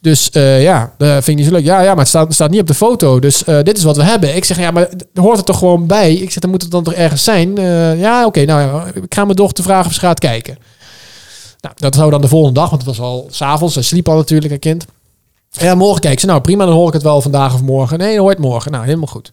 Dus eh, ja, dat vind ik niet zo leuk. Ja, ja maar het staat, staat niet op de foto. Dus eh, dit is wat we hebben. Ik zeg, ja, maar d- hoort het toch gewoon bij? Ik zeg, dan moet het dan toch ergens zijn? Eh, ja, oké, nou ja, ik ga mijn dochter vragen of ze gaat kijken. Nou, dat zou dan de volgende dag, want het was al s'avonds. Ze sliep al natuurlijk, een kind. En ja, morgen kijk ze. Nou, prima, dan hoor ik het wel vandaag of morgen. Nee, dan hoor je het morgen. Nou, helemaal goed.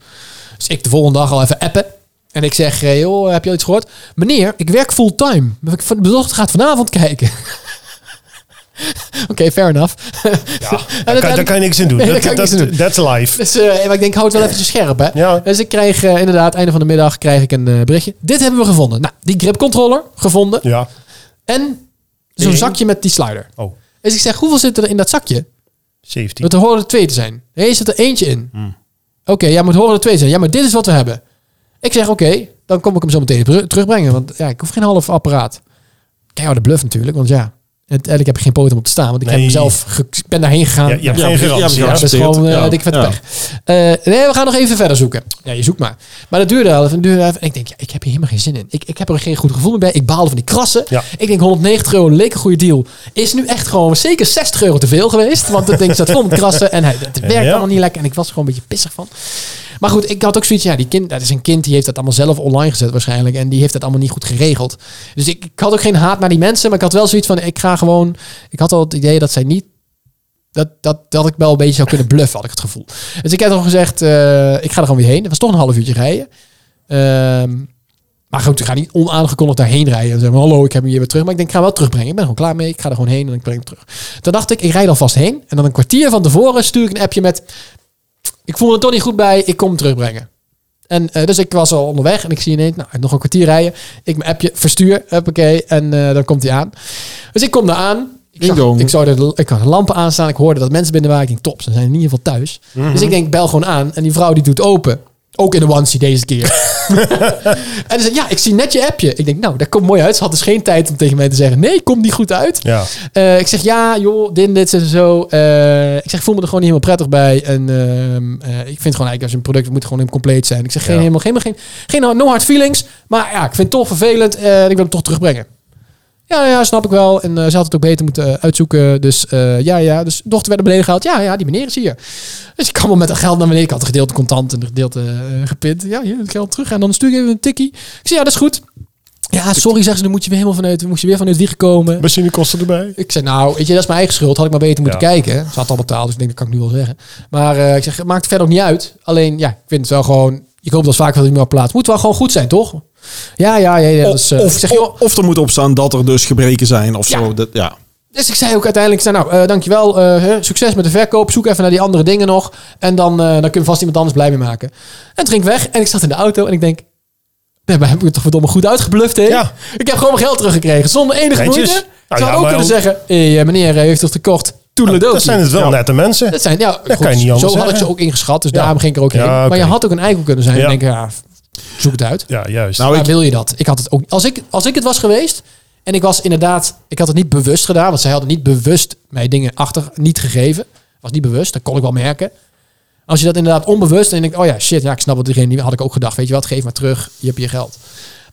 Dus ik de volgende dag al even appen. En ik zeg, eh, joh, heb je al iets gehoord? Meneer, ik werk fulltime. Mijn dochter gaat vanavond kijken. Oké, fair enough.
Ja, daar, kan, daar
uiteindelijk-
kan je niks in doen.
Nee, daar
dat,
kan ik
dat,
niks in doen.
That's life.
Dus, eh, maar ik denk, houd het wel eventjes scherp, hè.
Ja.
Dus ik kreeg eh, inderdaad, einde van de middag, krijg ik een eh, berichtje. Dit hebben we gevonden. Nou, die grip controller gevonden.
Ja.
En zo'n
Ding.
zakje met die slider.
Oh,
Dus ik zeg, hoeveel zitten er in dat zakje?
17.
Want er horen er twee te zijn. Nee, zit er eentje in.
Hmm.
Oké, ja, maar het horen er twee te zijn. Ja, maar dit is wat we hebben. Ik zeg, oké, dan kom ik hem zo meteen teru- terugbrengen. Want ja, ik hoef geen half apparaat. Kijk, oh, de bluff natuurlijk. Want ja, uiteindelijk heb ik geen poot om op te staan. Want ik heb
Nee.
hem zelf ge- ik ben daarheen gegaan.
Ja, je hebt
Ja,
geen
ja,
garantie.
ja,
hè?
Ja, dat is gewoon eh
Ja.
dikke vette
Ja.
pech. Eh, nee, we gaan nog even verder zoeken. Ja, je zoekt maar. Maar dat duurde al even. dat Duurde even. En ik denk, ja, ik heb hier helemaal geen zin in. Ik, ik heb er geen goed gevoel meer bij. Ik baalde van die krassen.
Ja.
Ik denk, 190 euro leek een goede deal. Is nu echt gewoon zeker 60 euro te veel geweest. Want het ding zat vol met krassen. En hij, het werkt
Ja.
allemaal niet lekker. En ik was er gewoon een beetje pissig van. Maar goed, ik had ook zoiets. Ja, die kind, dat is een kind die heeft dat allemaal zelf online gezet waarschijnlijk. En die heeft dat allemaal niet goed geregeld. Dus ik, ik had ook geen haat naar die mensen. Maar ik had wel zoiets van, ik ga gewoon... Ik had al het idee dat zij niet dat, dat, dat ik wel een beetje zou kunnen bluffen, had ik het gevoel. Dus ik heb al gezegd, eh, ik ga er gewoon weer heen. Het was toch een half uurtje rijden. Ehm, maar goed, ik ga niet onaangekondigd daarheen rijden. En zeggen, hallo, ik heb hem hier weer terug. Maar ik denk, ik ga hem wel terugbrengen. Ik ben er gewoon klaar mee. Ik ga er gewoon heen en ik breng hem terug. Toen dacht ik, ik rijd alvast heen. En dan een kwartier van tevoren stuur ik een appje met... Ik voel me er toch niet goed bij. Ik kom hem terugbrengen. En eh, dus ik was al onderweg en ik zie ineens, nou, nog een kwartier rijden. Ik mijn appje verstuur, huppakee, en eh, dan komt hij aan. Dus ik kom daar aan. Ik
Ding
zag,
dong.
ik, zou de, ik had de lampen aanstaan. Ik hoorde dat mensen binnen waren. Ik denk, top, ze zijn in ieder geval thuis.
Mhm.
Dus ik denk, bel gewoon aan. En die vrouw die doet open. Ook in de onesie deze keer. en ze zegt, ja, ik zie net je appje. Ik denk, nou, dat komt mooi uit. Ze had dus geen tijd om tegen mij te zeggen, nee, komt niet goed uit.
Ja.
Eh, ik zeg ja, joh, dit en dit en zo. Eh, ik zeg, ik voel me er gewoon niet helemaal prettig bij. En ehm, eh, ik vind gewoon eigenlijk als een product het moet gewoon helemaal compleet zijn. Ik zeg geen,
Ja.
helemaal, geen, geen, geen no hard feelings. Maar ja, ik vind het toch vervelend en ik wil hem toch terugbrengen. Ja, ja, snap ik wel. En eh, ze had het ook beter moeten eh, uitzoeken. Dus eh, ja, ja. Dus de dochter werd naar beneden gehaald. Ja, ja, die meneer is hier. Dus ik kwam al met dat geld naar beneden. Ik had een gedeelte contant en een gedeelte eh, gepint. Ja, hier, het geld terug. En dan stuur ik even een tikkie. Ik zei, ja, dat is goed. Ja, sorry, zeggen ze. Dan moet je weer helemaal vanuit, moest je weer vanuit wieg komen.
Benzinekosten erbij.
Ik zei, nou, weet je, dat is mijn eigen schuld. Had ik maar beter moeten
Ja.
kijken. Ze had al betaald, dus ik denk, dat kan ik nu wel zeggen. Maar eh, ik zeg, het maakt verder ook niet uit. Alleen, ja, ik vind het wel gewoon... Ik hoop dat vaak wel meer op plaats. Moet wel gewoon goed zijn, toch? Ja, ja, ja. ja dat is,
Of,
eh,
of,
ik zeg, joh,
of er moet opstaan dat er dus gebreken zijn of
Ja.
zo. Dat, ja.
dus ik zei ook uiteindelijk, ik zei, nou, eh, dankjewel. eh, hè, succes met de verkoop. Zoek even naar die andere dingen nog. En dan, eh, dan kun je vast iemand anders blij mee maken. En toen ging ik weg en ik zat in de auto en ik denk... Nee, maar heb ik het toch verdomme goed uitgebluft, hè?
Ja.
Ik heb gewoon mijn geld teruggekregen, zonder enige
Netjes.
moeite.
Nou
Ik
ja,
zou ook
maar
kunnen
ook-
zeggen, hey, eh, meneer, eh, heeft het gekocht? Toedeledokie.
Dat zijn het wel
Ja.
nette mensen.
Dat zijn, ja, goed,
kan je niet
zo
anders
had ik ze
zeggen.
ook ingeschat, dus
Ja.
daarom ging ik er ook
Ja,
heen. Maar
oké.
je had ook een eikel kunnen zijn
Ja.
en denken, ja, zoek het uit.
Ja, juist.
Nou,
maar
ik,
wil je dat? Ik had het ook, als, ik, als ik het was geweest en ik was inderdaad, ik had het niet bewust gedaan, want zij hadden niet bewust mij dingen achter, niet gegeven. Was niet bewust, dat kon ik wel merken. Als je dat inderdaad onbewust en je denkt, oh ja, shit, ja, ik snap wat diegene die had ik ook gedacht. Weet je wat, geef maar terug, je hebt je geld.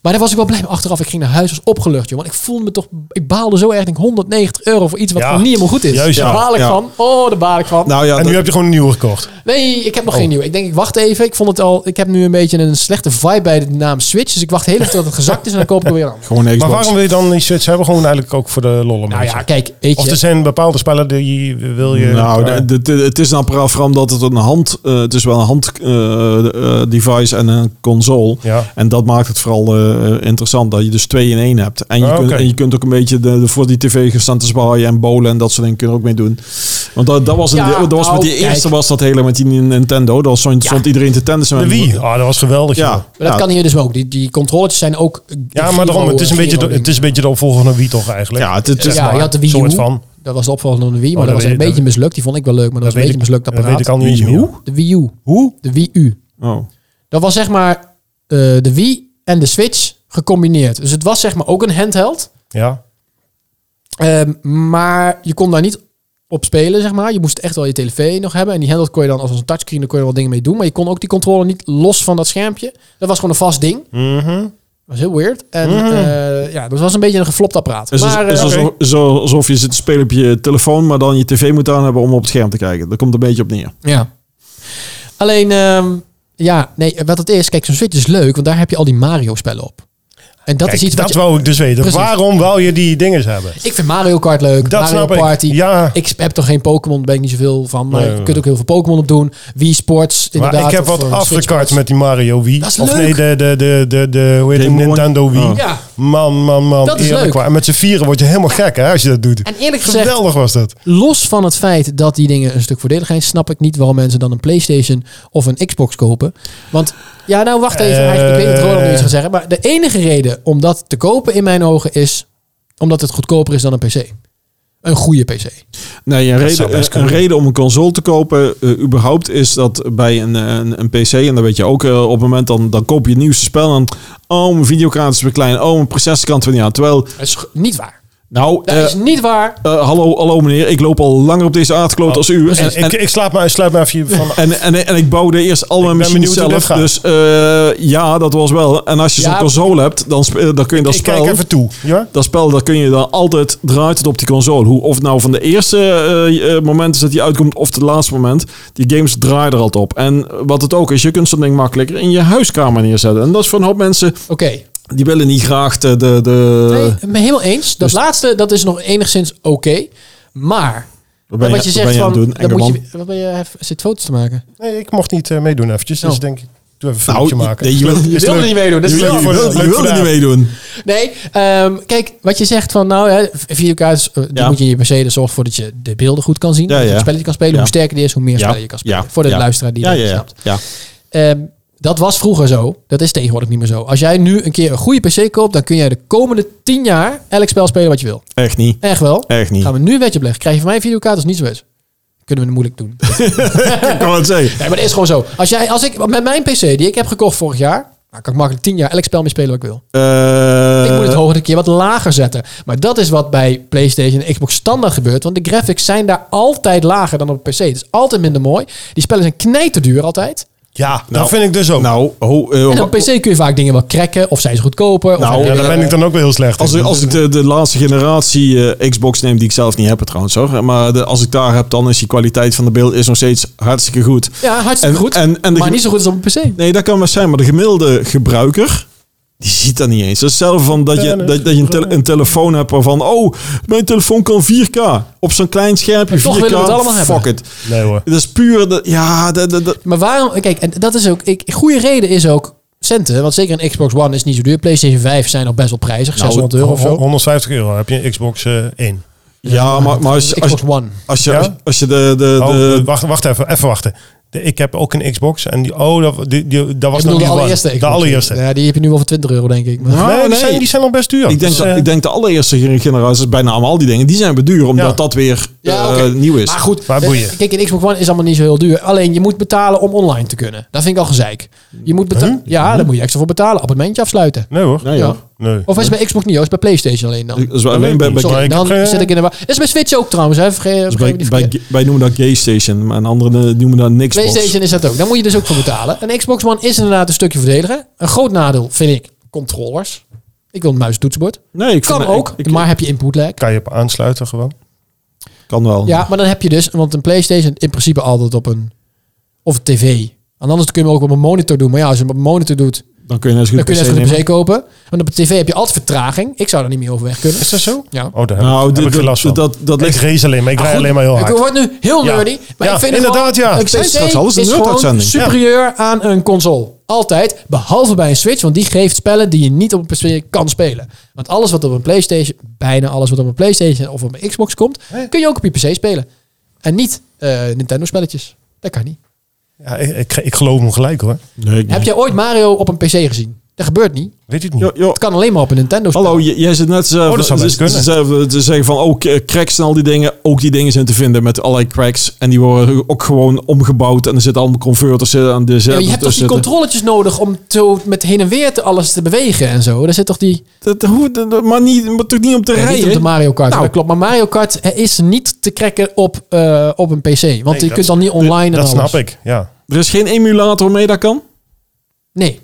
Maar daar was ik wel blij mee. Achteraf, ik ging naar huis, was opgelucht, joh. Want ik voelde me toch, ik baalde zo erg, Ik denk 190 euro voor iets wat
Ja,
gewoon niet helemaal goed is.
juist,
daar
ja.
baal ik
Ja.
van. Oh, daar baal ik van.
Nou ja,
en
dat-
nu heb je gewoon een nieuwe gekocht.
Nee, ik heb nog
Oh.
geen nieuwe. Ik denk, ik wacht even. Ik vond het al. Ik heb nu een beetje een slechte vibe bij de naam Switch. Dus ik wacht heel even tot het gezakt is en dan koop ik er weer een ander.
gewoon een
Maar
Xbox.
waarom wil je dan die Switch hebben? Gewoon eigenlijk ook voor de lol een
Nou
beetje.
ja, kijk, weet
Of er
je.
zijn bepaalde spellen die wil je...
Nou, de- de- de- het is een apparaat vooral omdat het een hand, eh, het is wel een hand eh, eh, device en een console.
ja.
En dat maakt het vooral eh, interessant dat je dus twee in één hebt. En je,
Ah,
kunt,
oké.
en je kunt ook een beetje de, de voor die tv gaan staan te zwaaien en bowlen en dat soort dingen kun je er ook mee doen. Want dat, dat was, in
Ja,
de- dat was met die
nou, kijk.
eerste was dat hele met die Nintendo. Dat stond,
Ja.
stond iedereen te tennissen.
De
met-
Wii. Ah, dat was geweldig.
Ja.
joh.
Maar dat
Ja.
kan hier dus ook. Die, die controletjes zijn ook. eh,
Ja, maar daarom, het is een beetje, de, het is een beetje de opvolger van de Wii toch eigenlijk.
Ja, het, het is,
Ja, je had de Wii
soort
U.
van.
Dat was de opvolger van de Wii, maar
Oh,
dat
dat
was
weet
een
ik-
beetje
dat-
mislukt. Die vond ik wel leuk, maar dat, was een
weet
beetje mislukt
ik- Dat
apparaat.
weet ik al niet eens
Wii U?
meer.
De Wii U.
Hoe?
De Wii U.
Oh.
Dat was zeg maar eh, de Wii en de Switch gecombineerd. Dus het was zeg maar ook een handheld.
Ja.
Ehm, maar je kon daar niet op spelen, zeg maar. Je moest echt wel je tv nog hebben. En die handle kon je dan als een touchscreen, daar kon je wel dingen mee doen. Maar je kon ook die controle niet los van dat schermpje. Dat was gewoon een vast ding.
Mhm.
Dat was heel weird. En
Mhm.
eh, ja, dat was een beetje een geflopt apparaat.
Dus
Het is,
maar,
als-
eh,
is alsof, zo- alsof je zit te spelen op je telefoon, maar dan je tv moet aan hebben om op het scherm te kijken. Daar komt het een beetje op neer.
Ja. eh, Alleen, ehm, ja, nee, wat het is... Kijk, zo'n Switch is leuk, want daar heb je al die Mario-spellen op. En dat
Kijk,
is iets
dat
wat... je-
wou ik dus weten.
Precies.
Waarom wou je die dinges hebben?
Ik vind Mario Kart leuk,
Dat
Mario
snap ik.
Party.
Ja,
Ik heb toch geen Pokémon, daar ben ik niet zoveel van. Maar
Nee,
je
nee,
kunt ook heel veel Pokémon op doen. Wii Sports,
maar
inderdaad.
ik heb
of,
wat
eh, Switch
afgekart
Sports.
met die Mario Wii.
Dat is
Of
leuk.
nee, de, de, de, de, de hoe heet het?
Game Boy.
Nintendo Wii.
Oh.
Ja,
Man, man, man.
Dat is
eerlijk
leuk.
waar. En met z'n vieren word je helemaal gek hè, als je dat doet.
en eerlijk gezegd,
Geweldig was dat.
los van het feit dat die dingen een stuk voordelig zijn, snap ik niet waarom mensen dan een PlayStation of een Xbox kopen. Want, ja, nou wacht even,
Eh.
eigenlijk, ik weet dat Roland nu iets gaat zeggen, maar de enige reden om dat te kopen in mijn ogen is omdat het goedkoper is dan een PC. Een goede PC.
Nee, een,
zou
reden,
best
een
kunnen.
reden om een console te kopen, eh, überhaupt, is dat bij een, eh, een, een PC, en dat weet je ook, eh, op het moment dan, dan koop je het nieuwste spel. En, dan, oh, mijn videokaart is weer klein. Oh, mijn processorkant weer niet aan. Terwijl,
Dat is g- niet waar.
nou,
Dat
eh,
is niet waar.
eh, hallo, hallo meneer, ik loop al langer op deze aardkloot als u. En, en,
Oh. ik, ik slaap maar, sluit maar even van...
en, en, en ik bouwde eerst al mijn
ben
machines
benieuwd hoe
zelf.
dat
Dus eh, ja, dat was wel. En als je
Ja.
zo'n console hebt, dan, spe- dan kun je dat
Ik
spel...
kijk even toe. Ja?
Dat spel, dat kun je dan altijd draait het op die console. Hoe, of het nou van de eerste eh, eh, moment is dat die uitkomt, of het laatste moment. Die games draaien er altijd op. En wat het ook is, je kunt zo'n ding makkelijker in je huiskamer neerzetten. En dat is voor een hoop mensen
Oké,
die willen niet graag de. de, de
nee, ik ben helemaal eens. Dat
dus-
laatste, dat is nog enigszins oké. Maar,
wat ben je,
wat je
wat ben
zegt
je aan
van,
het doen,
dan moet
Engelman?
je, wat ben je, zit foto's te maken.
Nee, ik mocht niet eh, meedoen eventjes. Dus
Oh.
denk ik, doe even een
Nou,
filmpje maken.
nee, je wil- je
Je wilde
wil-
niet meedoen, dat is
je wil-
wel-
je wil-
Leuk
je
voor
wil er
de
niet meedoen.
Nee, ehm, kijk, wat je zegt van nou, hè, videokaartjes, eh, die
Ja.
moet je in je PC er zorgen voor dat je de beelden goed kan zien.
Ja,
dat je
ja.
het spelletje kan spelen.
Ja.
Hoe sterker die is, hoe meer
Ja,
spellen je kan spelen.
ja,
Voor de
ja.
luisterapt luisteraar die
Ja,
dat
ja, ja.
snapt.
ja.
Ehm, dat was vroeger zo. Dat is tegenwoordig niet meer zo. Als jij nu een keer een goede PC koopt, dan kun jij de komende 10 jaar elk spel spelen wat je wil.
Echt niet.
Echt wel.
Echt niet.
Gaan we nu een wetje opleggen. Krijg je van mij een videokaart, dat is niet zo best. Kunnen we het moeilijk doen.
Ik kan het zeggen.
Nee, maar dat is gewoon zo. Als, jij, als ik met mijn PC die ik heb gekocht vorig jaar, nou, kan ik makkelijk 10 jaar elk spel mee spelen wat ik wil. Ik moet het
Eh,
volgende keer wat lager zetten. Maar dat is wat bij PlayStation en Xbox standaard gebeurt. Want de graphics zijn daar altijd lager dan op een PC. Het is altijd minder mooi. Die spellen zijn knijterduur altijd.
Ja,
Nou,
dat vind ik dus ook.
Nou, ho, eh,
En op een PC kun je vaak dingen wel cracken. Of zijn ze goedkoper.
Nou,
of
ja, daar ben ik dan ook wel heel slecht
Als,
in.
ik- als ik de, de laatste generatie eh, Xbox neem, die ik zelf niet heb trouwens hoor. Maar de, als ik daar heb, dan is die kwaliteit van de beeld is nog steeds hartstikke goed.
ja hartstikke
en-
goed.
en- en de-
maar niet zo goed als op een PC.
Nee, dat kan wel zijn, maar de gemiddelde gebruiker, die ziet dat niet eens. Dat is hetzelfde van dat je, dat, dat je een, tele- een telefoon hebt waarvan, oh, mijn telefoon kan 4K. Op zo'n klein schermpje, 4K,
toch willen we het allemaal
fuck
hebben.
it.
Nee hoor.
Dat is puur, de, ja, dat, dat, dat-
Maar waarom... Kijk, en dat is ook... Ik, goede reden is ook centen. Want zeker een Xbox One is niet zo duur. PlayStation 5 zijn nog best wel prijzig.
Nou,
600 euro of
Ho-
zo.
150 euro heb je een Xbox eh, 1.
ja, maar, maar als, je- als,
Xbox
je-
One.
als, je,
Ja?
als, je- als je de, de,
Oh,
de,
eh, wacht, wacht even, even wachten. De- ik heb ook een Xbox en die, oh, dat, die, die- dat was
ik bedoel
nog
de
niet
allereerste.
One.
Xbox.
De allereerste.
Ja, die heb je nu wel voor 20 euro, denk ik. Maar-
Ja.
Nee,
Ah,
die,
nee.
zijn, die zijn al best duur.
Ik denk,
Dus,
dat,
eh,
ik denk de allereerste generaties, bijna allemaal die dingen, die zijn beduur, omdat
Ja.
dat weer
Ja,
eh,
oké.
nieuw is.
Maar goed,
Maar
eh,
boeien.
kijk, een Xbox One is allemaal niet zo heel duur. Alleen je moet betalen om online te kunnen. Dat vind ik al gezeik. Je moet betalen. Ja, daar moet je extra voor betalen. Abonnementje afsluiten.
Nee hoor.
Nee,
Ja.
hoor.
Nee.
Of is het bij Xbox niet, Joost? Bij PlayStation alleen dan?
Dat is wel Dus alleen bij, bij,
Sorry,
ik
dan
heb, eh,
zit ik in de... wa- Dat is bij Switch ook trouwens, hè? Vergeet,
dus
begrijp
bij,
ik niet
bij,
verkeerd.
wij noemen dat Gay Station, maar een andere noemen dat niks.
PlayStation is dat ook. Daar moet je dus ook voor betalen. Een Xbox One is inderdaad een stukje verdediger. Een groot nadeel vind ik controllers. Ik wil een muis en toetsenbord.
Nee, ik
Kan
vind-
ook,
ik- ik-
maar heb je input lag.
Kan je op aansluiten gewoon?
kan wel.
Ja, maar dan heb je dus, want een PlayStation in principe altijd op een of een tv. En anders kun je hem ook op een monitor doen. Maar ja, als je hem op een monitor doet,
Dan kun je net zo
dan
goed
kun je
een
net
PC
van de
nemen.
PC kopen. Want op een tv heb je altijd vertraging. Ik zou daar niet meer overweg kunnen.
Is dat zo?
Ja.
Oh, daar heb,
Nou,
ik- heb ik
dit,
geen last
dat,
van.
dat, dat
ik
ligt Ah,
race alleen maar. Ik rij alleen maar heel
Ik
hard.
word nu heel
Ja.
nerdy. Maar
Ja,
ik vind
inderdaad,
gewoon,
ja.
Een
Ik
zei
PC
straks al, dat is een
is gewoon
nerduitzending.
superieur aan een console. Altijd. Behalve bij een Switch. Want die geeft spellen die je niet op een PC kan spelen. Want alles wat op een PlayStation... Bijna alles wat op een PlayStation of op een Xbox komt... kun je ook op je PC spelen. En niet eh, Nintendo-spelletjes. Dat kan niet.
Ja, ik, ik, ik geloof hem gelijk hoor.
Nee, ik
Heb jij ooit Mario op een PC gezien? Dat gebeurt niet.
Weet ik niet.
Jo, jo,
Het kan alleen maar op een Nintendo. spel.
Oh. Hallo, j- jij zit net zelf,
Oh, dat zou best
ze- ze- ze- te zeggen van ook oh, k- cracks en al die dingen. Ook die dingen zijn te vinden met allerlei cracks. En die worden ook gewoon omgebouwd. En er zitten allemaal converters in, aan de
Ja, maar je hebt toch die controletjes nodig om zo met heen en weer te alles te bewegen en zo. Daar zit toch die...
dat, hoe, dat- maar, niet, maar toch niet om te
Ja,
rijden.
niet op de Mario Kart,
Nou.
dat klopt. Maar Mario Kart eh, is niet te cracken op, eh, op een PC. Want je
dat-
kunt dan niet online en
dat
alles.
snap ik, ja.
er is geen emulator waarmee dat kan.
Nee.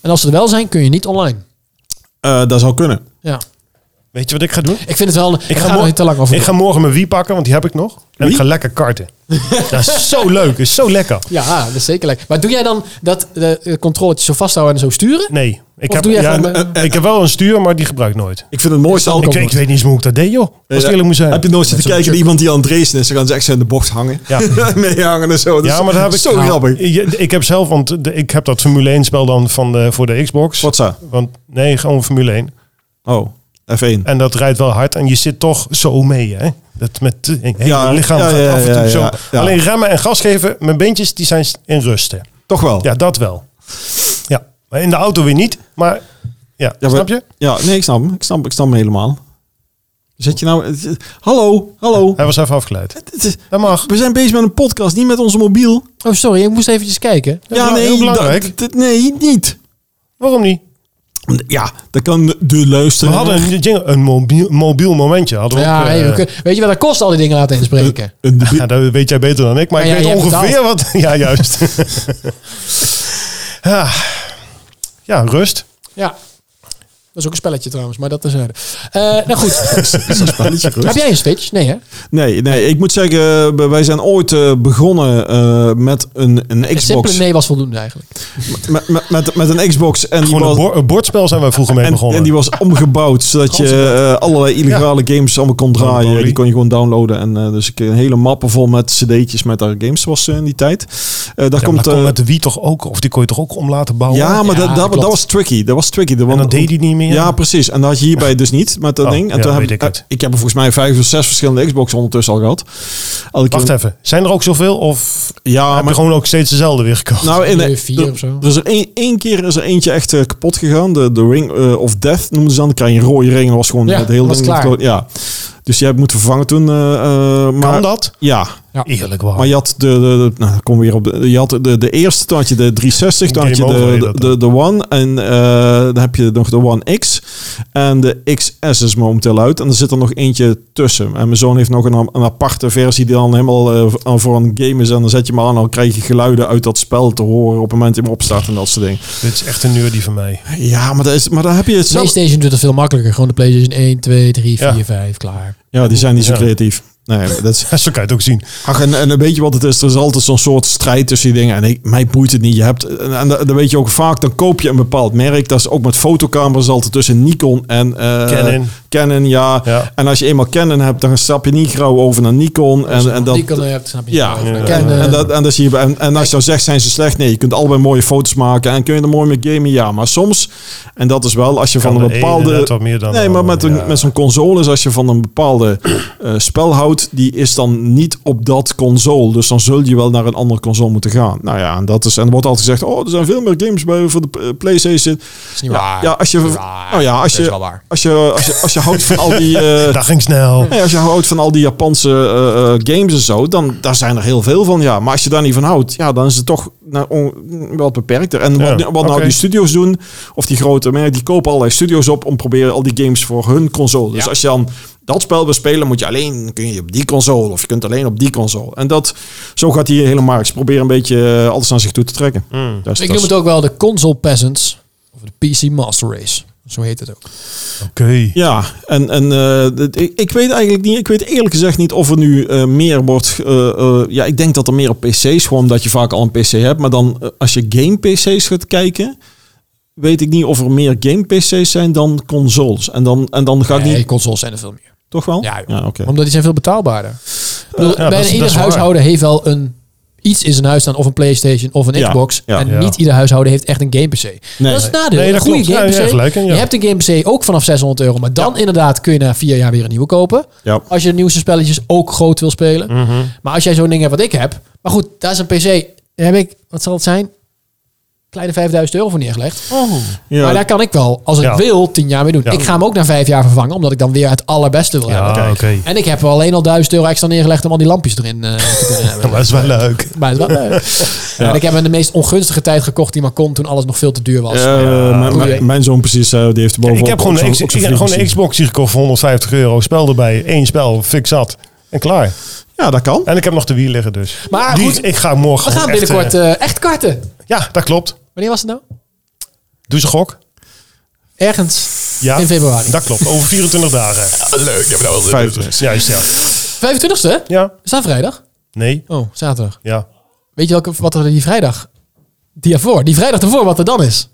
En als ze er wel zijn, kun je niet online.
Eh, dat zou kunnen.
Ja.
Weet je wat ik ga doen?
Ik vind het wel... Ik
ga
ga er
mor-
niet te lang over.
Ik ga morgen mijn Wii pakken, want die heb ik nog. En ik
Wii?
ga lekker karten. dat is zo leuk, is zo lekker.
Ja, dat is zeker lekker. Maar doe jij dan dat de eh, controletjes zo vasthouden en zo sturen?
Nee, ik,
Of
heb,
doe jij
ja,
gewoon,
nee,
eh,
ik heb wel een stuur, maar die gebruik ik nooit.
Ik vind het mooiste altijd.
Ik, ik weet niet eens hoe ik dat deed, joh. Als ik eerlijk moet zijn.
Heb je nooit zitten kijken naar iemand die aan het racen is? Dan gaan ze echt zo in de bocht hangen.
Ja.
Meehangen en zo. Dat
ja,
is
maar dat heb ik
Zo
nou,
grappig.
je- Ik heb zelf, want de- ik heb dat Formule 1 spel dan van de, voor de Xbox.
Forza.
Want nee, gewoon Formule 1.
Oh, F1.
En dat rijdt wel hard. En je zit toch zo mee, hè? Dat met het hele
Ja,
lichaam
ja,
gaat
ja,
af en toe
ja,
zo.
ja, ja.
Alleen remmen en gas geven, mijn beentjes, die zijn in rusten.
Toch wel.
Ja, dat wel. Ja, maar in de auto weer niet. Maar ja,
Ja, maar-
snap je?
Ja, nee, ik snap hem. Ik snap, ik snap hem helemaal. Zet je nou... het- het- Hallo, hallo.
Hij was even afgeleid.
Het is-
Dat mag.
We zijn bezig met een podcast, niet met onze mobiel.
Oh, sorry. Ik moest eventjes kijken.
Ja,
belang-
nee,
heel belangrijk.
dat- dat- nee, niet.
Waarom niet?
Ja, dat kan de
We
luisteraar.
hadden een, jingle- een mobiel, mobiel momentje. Hadden we
Ja,
ook, eh,
hey, we kun- weet je wat dat kost, al die dingen laten inspreken?
een de-
ja, dat weet jij beter dan ik. Maar
Maar
ik
ja,
weet
jij
ongeveer wat... Ja, juist. ja. ja, rust.
Ja. Dat is ook een spelletje trouwens, maar dat terzijde. Eh nou goed. Heb jij een Switch? Nee, hè?
nee, nee, ik moet zeggen, eh, wij zijn ooit eh, begonnen eh, met een, een
Een simpele
Xbox.
nee was voldoende eigenlijk.
Met, met, met, met een Xbox. En die,
Gewoon een,
was,
bo- een bordspel zijn wij vroeger mee
en,
begonnen.
en die was omgebouwd, zodat je eh, allerlei illegale games allemaal kon draaien.
Monopoly.
Die kon je gewoon downloaden. En eh, dus ik een hele mappen vol met cd'tjes met haar games was eh, in die tijd. Eh, daar
ja, maar
komt...
dat kon
eh,
met de Wii toch ook? Of die kon je toch ook om laten bouwen?
ja, maar
Ja,
dat, dat,
klopt.
dat was tricky. Dat was tricky.
En dat deed hij niet meer?
Ja, precies. En dat had je hierbij dus niet met dat
Oh,
ding. En
ja,
toen heb
weet
ik,
ik het.
ik heb er volgens mij vijf of zes verschillende Xbox ondertussen al gehad. Elke keer-
Wacht even. Zijn er ook zoveel? Of
Ja,
heb je
Ah, maar
gewoon ook steeds dezelfde weer gekocht?
nou, in
Nee, vier
er-
of zo.
Er is er één, één keer is er eentje echt eh, kapot gegaan. De, de Ring eh, of Death noemden ze dan. Dan krijg je een rode ring. Dat was gewoon
Ja,
het hele
was
ding.
klaar.
dat- Ja. Dus jij hebt moeten vervangen toen. eh, eh, maar,
kan dat?
Ja.
Eerlijk waar.
Oh. Maar je had de, de, de- nou, dan kom ik weer op de, je had de, de eerste, toen had je de 360, toen had je
Game over heet
de,
dat
de, de, de One en eh, dan heb je nog de One X en de XS is momenteel uit en er zit er nog eentje tussen. En mijn zoon heeft nog een, een aparte versie die dan helemaal eh, voor een game is en dan zet je hem aan en dan krijg je geluiden uit dat spel te horen op het moment dat je hem opstart en dat soort dingen.
Dit is echt een die van mij.
Ja, maar, dat is, maar dan heb je het zelf.
PlayStation doet dat veel makkelijker. Gewoon de PlayStation 1, 2, 3, 4,
Ja.
5, klaar.
Ja, die zijn niet zo
Ja.
creatief. Nee, dat is,
Zo kan je het ook zien.
Ach, en, en weet je wat het is? Er is altijd zo'n soort strijd tussen die dingen. En ik, mij boeit het niet. Je hebt, en, en dat dat weet je ook vaak, dan koop je een bepaald merk. Dat is ook met fotocamera's altijd tussen Nikon en... eh,
Canon.
Canon, ja.
Ja.
En als je eenmaal Canon hebt, dan stap je niet grauw over naar Nikon. En, en dat...
Dus die kan je hebt, snap je.
Ja,
niet.
ja.
Ken, eh,
En, dat, en, dat zie je, en, en als je dan zegt, zijn ze slecht? Nee, je kunt allebei mooie foto's maken en kun je er mooi mee gamen? Ja, maar soms, en dat is wel, als je
Kan
van een
de ene net
bepaalde...
wat meer dan de
nee, maar
andere,
met, een,
ja.
met zo'n console is als je van een bepaalde eh, spel houdt, cloud die is dan niet op dat console. Dus dan zul je wel naar een andere console moeten gaan. Nou ja, en, dat is, en er wordt altijd gezegd, oh, er zijn veel meer games bij voor de eh, PlayStation.
is niet
Ja,
waar.
Ah,
ja, als je-
Dat is waar.
nou ja, als
Dat is
je-
wel waar.
Als je, als je, als je houdt van al die... eh,
Dat ging snel.
Nee, als
dus-
je houdt van al die Japanse eh, eh, games en zo, dan daar zijn er heel veel van, ja. Maar als je daar niet van houdt, ja, dan is het toch nou, on- wel beperkter. En wat,
Ja,
wat nou
oké.
die studios doen, of die grote merken, die kopen allerlei studios op om proberen al die games voor hun console. Dus
Ja.
als je dan dat spel wil spelen, moet je alleen kun je op die console of je kunt alleen op die console. En dat, zo gaat die hele markt. Ze proberen een beetje eh, alles aan zich toe te trekken. Dat is-
Hmm. Ik
Dus dat
noem
is-
het ook wel de console peasants. Of de PC Master Race. Zo heet het ook.
Oké.
Ja, en, en eh, dat- ik, ik weet eigenlijk niet, ik weet eerlijk gezegd niet of er nu eh, meer wordt. eh, eh, ja, ik denk dat er meer op PC's, gewoon omdat je vaak al een PC hebt. Maar dan eh, als je game-PC's gaat kijken, weet ik niet of er meer game-PC's zijn dan consoles. En dan, en dan ga ik
Nee,
niet,
consoles zijn er veel meer.
toch wel?
Ja, joh.
Oh? ja oké.
Omdat die zijn veel betaalbaarder. Ik bedoel,
ja, dat
bijna
is- dat
ieder
is waar.
huishouden heeft wel een iets in zijn huis staan. Of een Playstation of een
Ja,
Xbox.
ja.
en
Ja.
niet ieder huishouden heeft echt een game PC. Dat is het nadeel.
Nee, dat
een goede
klopt. Ja,
game
je hebt
PC.
gelijk in, ja.
Je hebt een game PC ook vanaf 600 euro. Maar dan inderdaad kun je na vier jaar weer een nieuwe kopen.
Ja.
Als je de nieuwste spelletjes ook groot wil spelen.
Mhm.
Maar als jij zo'n ding hebt wat ik heb. Maar goed, daar is een PC. Daar heb ik, wat zal het zijn? Kleine 5000 euro voor neergelegd.
Ja,
Maar daar kan ik wel, als ik
Ja.
wil, tien jaar mee doen.
Ja.
Ik ga hem ook na vijf jaar vervangen, omdat ik dan weer het allerbeste wil hebben.
Ja, oké.
En ik heb er alleen al duizend euro extra neergelegd om al die lampjes erin eh, te kunnen hebben.
Dat was wel leuk.
Maar het is wel leuk. Ja. En ik heb hem in de meest ongunstige tijd gekocht die maar kon, toen alles nog veel te duur was.
Eh, mijn, mijn, mijn zoon precies, eh, die heeft bovenop
ik heb gewoon
ook zo'n-
een, X-
ook zo'n
ik heb gewoon een
vriendje.
Xbox hier gekocht voor 150 euro. Spel erbij. Eén spel. Fix zat. En klaar.
Ja, dat kan.
En ik heb nog de wiel liggen dus.
Maar
Die-
goed,
ik ga morgen
we gaan
gewoon echt,
binnenkort
eh,
eh, echt karten.
ja, dat klopt.
Wanneer was het nou?
Doe ze gok.
Ergens
Ja,
in februari.
dat klopt. Over 24 dagen.
Leuk, je hebt wel
Vijf.
Ja, juist ja.
25e?
Ja.
Is dat vrijdag?
Nee.
Oh, zaterdag.
Ja.
Weet je welke, wat er die vrijdag... Die ervoor, die vrijdag ervoor, wat er dan is.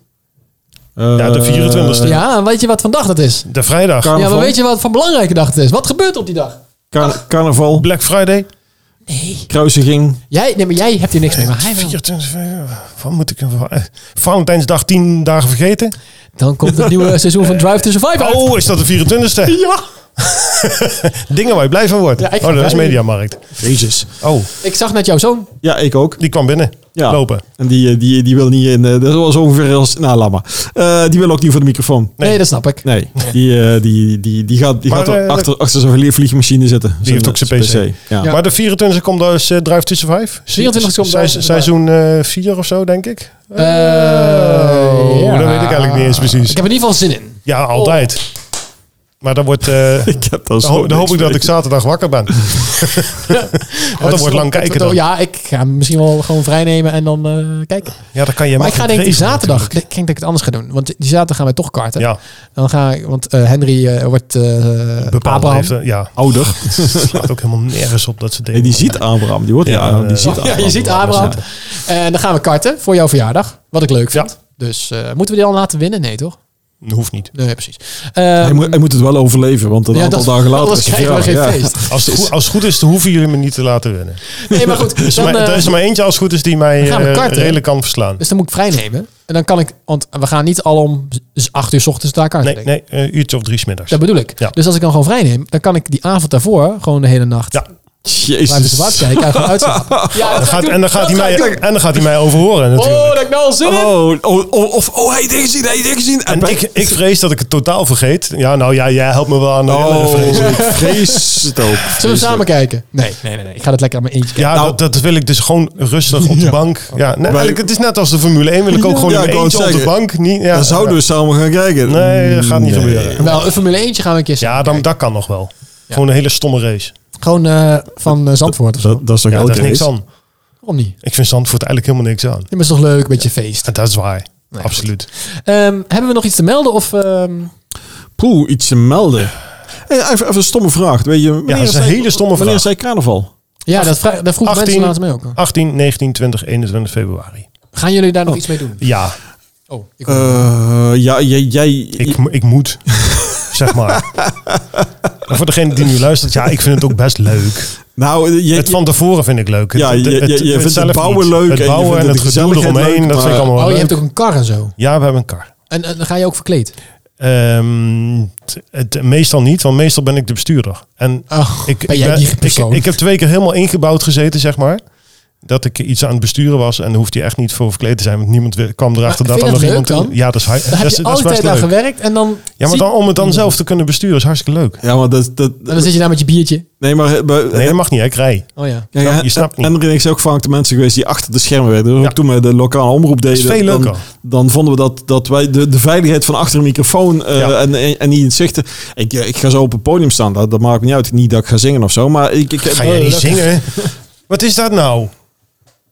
Ja,
Eh,
de 24e.
Ja.
Ja, en weet je wat vandaag dat is?
De vrijdag.
Ja, maar
Carnaval?
weet je wat van belangrijke dag het is? Wat gebeurt er op die dag?
Car- carnaval,
Black Friday.
kruisiging.
Jij, nee, maar jij hebt hier niks mee, maar hij wel.
24, eh, wat moet ik ervan? eh, Valentijnsdag 10 dagen vergeten.
Dan komt het nieuwe seizoen van Drive to Survive uit.
Oh, is dat de 24e?
Ja.
Dingen waar je blij van wordt.
Ja, ik-
oh, dat is Mediamarkt.
Jezus.
Oh,
Ik zag net jouw zoon.
Ja, ik ook.
die kwam binnen.
Ja.
Lopen.
En die, eh, die, die wil niet in. eh, Dat was ongeveer als. Nou, laat maar. Eh, die wil ook niet voor de microfoon.
Nee, dat snap ik.
Nee, die, eh, die, die, die gaat, die
Maar,
gaat er
eh,
achter, achter zijn vlieg- vliegmachine zitten. Zijn-
heeft ook zijn PC.
Ja.
Ja.
Maar de 24e komt dus eh, Drive to Survive.
24e komt Drive to Survive.
Seizoen 4 of zo, denk ik.
Eh,
Oh,
ja.
dat weet ik eigenlijk niet eens precies.
Eh, Ik heb er in ieder geval zin in.
Ja, altijd. Maar dan, wordt, eh,
Ik heb dat
dan,
zo
ho- dan hoop ik
niks
dat ik
mee.
zaterdag wakker ben. Want Oh, dat wordt lang kijken dan.
Ja, ik ga hem misschien wel gewoon vrijnemen en dan eh, kijken.
Ja, dan kan je
Maar ik
makkelijk
ga denk ik die
regelen
zaterdag... Ik
natuurlijk.
denk dat ik het anders ga doen. Want die zaterdag gaan wij toch karten.
Ja,
Dan ga ik... Want eh, Henry eh, wordt... eh
bepaald
Abraham.
heeft, eh, Ja,
Ouder.
het slaat ook helemaal nergens op dat ze
Nee,
dingen.
die ziet Abraham. Die wordt
Ja,
ja, die
eh,
ziet
Ja,
Abraham.
je ziet Abraham. En dan gaan we karten voor jouw verjaardag. Wat ik leuk vind. Dus eh, moeten we die al laten winnen? Nee, toch?
Hoeft niet.
Nee, precies.
Hij
Ehm,
moet, hij moet het wel overleven, want een
Ja,
aantal
dat-
dagen later
anders
is hij
krijgen we geen
verjaardag, ja.
feest.
Als het, goed, als het goed is, dan hoeven jullie me niet te laten winnen.
Nee, maar goed.
Dus
Dan,
maar,
eh,
er is er maar eentje als het goed is die mij
gaan we
eh,
karten, hè?
redelijk kan verslaan.
dus dan moet ik vrijnemen. En dan kan ik... Want we gaan niet al om z- acht uur 's ochtends daar kaarten
Nee,
nee,
nee, een uurtje of drie smiddags.
Dat bedoel ik.
Ja.
Dus als ik dan gewoon vrijneem, dan kan ik die avond daarvoor gewoon de hele nacht
Ja.
blijven te
Jezus.
wacht kijken en gewoon uitslapen. Ja, dat
Dan gaat, en, dan gaat hij
mij.
mij, en dan gaat hij mij overhoren natuurlijk.
Oh, dat ik nou al zin heb.
Oh, oh, oh, of, oh, hij heeft dit gezien, hij heeft dit gezien.
En ik, ik vrees dat ik het totaal vergeet. Ja, nou ja, jij helpt me wel aan de
Oh,
herinneren, vrees ik.
ik vrees het ook.
Zullen we samen kijken? Nee, nee, nee, nee. Ik ga dat lekker aan mijn eentje kijken.
Ja,
Nou.
dat, dat wil ik dus gewoon rustig op de bank. Ja, net- eigenlijk, het is net als de Formule 1. Wil ik ook
Ja,
gewoon
ja,
in
ik
mijn
wou
eentje
het
op de
zeggen.
bank. Niet, ja,
Dan zouden we samen gaan kijken.
Nee, dat gaat niet gebeuren.
Wel, een Formule 1 gaan we een keer samen
Ja, dan,
kijken.
dat kan nog wel. Gewoon een hele stomme race.
Gewoon eh, van eh, Zandvoort of zo.
Dat, dat is toch
Ja,
elke
daar is niks
race?
aan.
Waarom niet?
Ik vind Zandvoort eigenlijk helemaal niks aan.
Ja, maar is toch leuk, een beetje feest.
En dat is waar. Absoluut.
Ehm, hebben we nog iets te melden? Of, ehm,
Poeh, iets te melden. Hey, even, even een stomme vraag. Weet je, wanneer
dat is een
zij-
hele stomme
Wanneer
vraag.
zij carnaval?
ja, dat, vra- dat vroegen
18,
mensen laatst mij ook. al.
18, 19, 20, 21 februari.
Gaan jullie daar nog iets mee doen?
Ja,
Oh, ik
Eh, ja, jij... jij
ik, mo- ik moet. zeg maar. maar. Voor degene die nu luistert, ja, ik vind het ook best leuk.
nou, eh, jij,
Het van tevoren vind ik leuk. Het-
Ja, je-
het-
je-
het-
je
het
vindt het
zelf
bouwen
niet.
leuk en
Het
je
bouwen en,
vindt
het
de
gedoe
gezelligheid
eromheen,
leuk,
dat vind ik
maar-
allemaal
Oh,
wel
je hebt
leuk.
ook een kar en zo.
Ja, we hebben een kar.
En, en dan ga je ook verkleed.
Eh, Ehm, t- het- meestal niet, want meestal ben ik de bestuurder. En
Oh,
ik,
ben
ik,
jij
ben-
die
ik-
persoon?
Ik, heb twee keer helemaal ingebouwd gezeten, zeg maar. Dat ik iets aan het besturen was en daar hoefde je echt niet voor verkleed te zijn, want niemand we- kwam erachter
Maar
dat
vind
er nog
je dat
iemand.
leuk dan?
Ja, dat is, hi-
Daar
dat
heb
is,
je
dat is
altijd
best
aan
leuk.
gewerkt en dan,
Ja, maar
zie-
dan, om het dan zelf te kunnen besturen is hartstikke leuk.
Ja, maar dat... dat
en dan zit je daar met je biertje.
nee, maar... eh, maar-
Nee, dat mag niet, hè? ik rij.
Oh ja.
Ja,
Ja, ja,
je snapt niet.
En er is ook vaak de mensen geweest die achter de schermen werden. Dus ook
Ja.
Toen we de lokale omroep deden,
veel
Dan,
leuker.
dan vonden we dat, dat wij de, de veiligheid van achter een microfoon eh,
Ja.
en, en, en niet in het zichten. Ik, eh, ik ga zo op het podium staan, dat, dat maakt me niet uit. Niet dat ik ga zingen of zo, maar ik... eh, ik
Ga jij niet
lekker.
zingen? Wat is dat nou?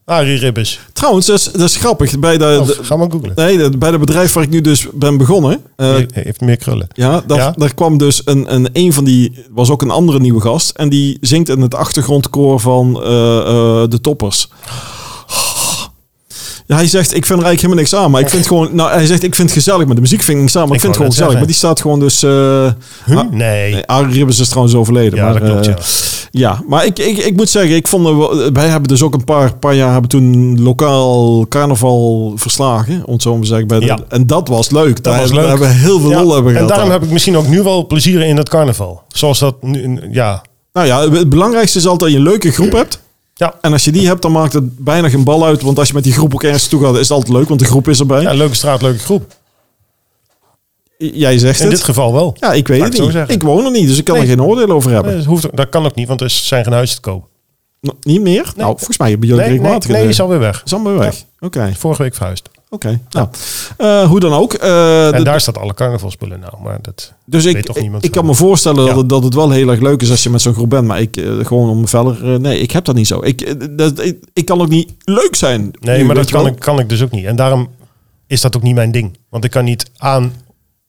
Arie Ribbes.
Trouwens, dat is, dat is grappig. Bij de,
Oh,
Eh, de-
ga maar googlen.
nee, dat- bij het bedrijf waar ik nu dus ben begonnen... eh,
Hij heeft meer krullen.
ja, daar,
Ja.
daar kwam dus een, een, een van die, was ook een andere nieuwe gast. En die zingt in het achtergrondkoor van eh, eh, de toppers. Ja, hij zegt, ik vind er eigenlijk helemaal niks aan. Maar ik vind gewoon, nou, hij zegt, ik vind het gezellig. Maar de muziek vind ik niks aan, maar ik,
Ik
vind het
wou
gewoon gezellig. Maar
net
die staat gewoon dus... eh ah,
Nee.
nee, Arie Ribbes is trouwens overleden.
Ja,
maar,
dat klopt,
eh,
ja.
ja, maar ik, ik, ik moet zeggen, ik vond, er wel- wij hebben dus ook een paar, paar jaar hebben toen lokaal carnaval verslagen, om het zo maar te zeggen. Bij de-
Ja.
En dat was leuk. Dat
was
We
leuk.
hebben we heel veel
Ja,
lol hebben
en
gehad.
daarom
daar.
heb ik misschien ook nu wel plezier in het carnaval. Zoals dat nu, ja.
Nou ja, het belangrijkste is altijd dat je een leuke groep hebt.
Ja,
En als je die hebt, dan maakt het bijna geen bal uit. Want als je met die groep ook ergens toe gaat, is het altijd leuk, want de groep is erbij.
ja leuke straat, leuke groep.
I- Jij zegt
In
het.
dit geval wel.
ja, ik weet
Laat
het
ik zo
niet.
zeggen.
Ik woon er niet, dus ik kan er
Nee.
geen oordeel over hebben.
Nee, dat, hoeft, dat kan ook niet, want er zijn geen huizen te koop.
N- Niet meer? Nou, volgens mij hebben jullie
Nee, nee,
regelmatig...
nee,
een-
is alweer weg.
is allemaal weg. Oké,
Vorige week verhuisd.
oké. Nou, eh, hoe dan ook. eh,
En
de-
daar staat alle carnavalspullen nou. Maar dat,
Dus
Weet
ik,
toch
ik,
niemand
ik
van.
kan me voorstellen dat,
Ja.
het, dat het wel heel erg leuk is als je met zo'n groep bent. Maar ik, eh, gewoon om verder... eh, nee, ik heb dat niet zo. Ik, eh, dat, ik, ik kan ook niet leuk zijn.
nee,
nu,
maar
weet
dat
je wel.
kan ik, kan ik dus ook niet. En daarom is dat ook niet mijn ding. Want ik kan niet aan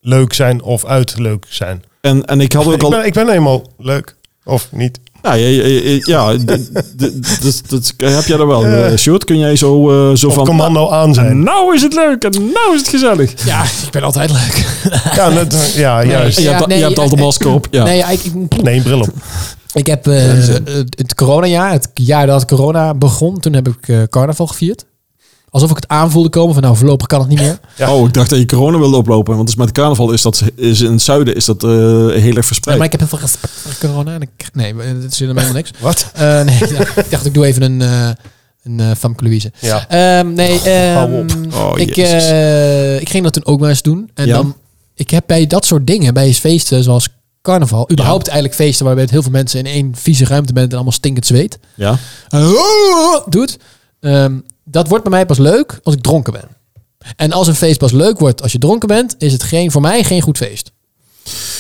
leuk zijn of uit leuk zijn.
En, en ik had ook
Ik
al...
ben, ik ben eenmaal leuk. Of niet.
Nou, ja, ja, ja, ja, d- d- dat, dat heb jij dan wel. eh
Eh.
Sjoerd, kun jij zo, eh, zo
Of
van...
commando aan zijn.
Nou is het leuk en nou is het gezellig.
Ja, ik ben altijd leuk.
Ja, net- ja juist.
Je
Ja,
hebt,
nee,
je hebt
eh,
altijd
eh,
een masker op. Ja.
Nee, ja, ik, ik,
Nee, een bril op.
ik heb eh, eh, het coronajaar, het jaar dat corona begon, toen heb ik eh, carnaval gevierd. Alsof ik het aanvoelde komen van nou, voorlopig kan het niet meer.
Ja.
Oh, ik dacht dat je corona wilde oplopen. Want dus met carnaval is dat is in het zuiden is dat, eh, heel erg
Nee,
verspreid.
maar ik heb heel veel respect voor corona. En ik, nee, het is helemaal niks.
Wat?
Eh, nee, ja, ik dacht ik doe even een, eh een eh, Famke Louise.
Ja.
Ehm, nee, ehm,
hou op.
Oh,
ik,
Jezus.
eh, ik ging dat toen ook maar eens doen. En
Ja.
dan, ik heb bij dat soort dingen, bij feesten zoals carnaval, überhaupt eigenlijk feesten waarbij het heel veel mensen in één vieze ruimte bent en allemaal stinkend zweet "Oh,
ja.
doet. Ehm, dat wordt bij mij pas leuk als ik dronken ben. En als een feest pas leuk wordt als je dronken bent, is het geen, voor mij geen goed feest.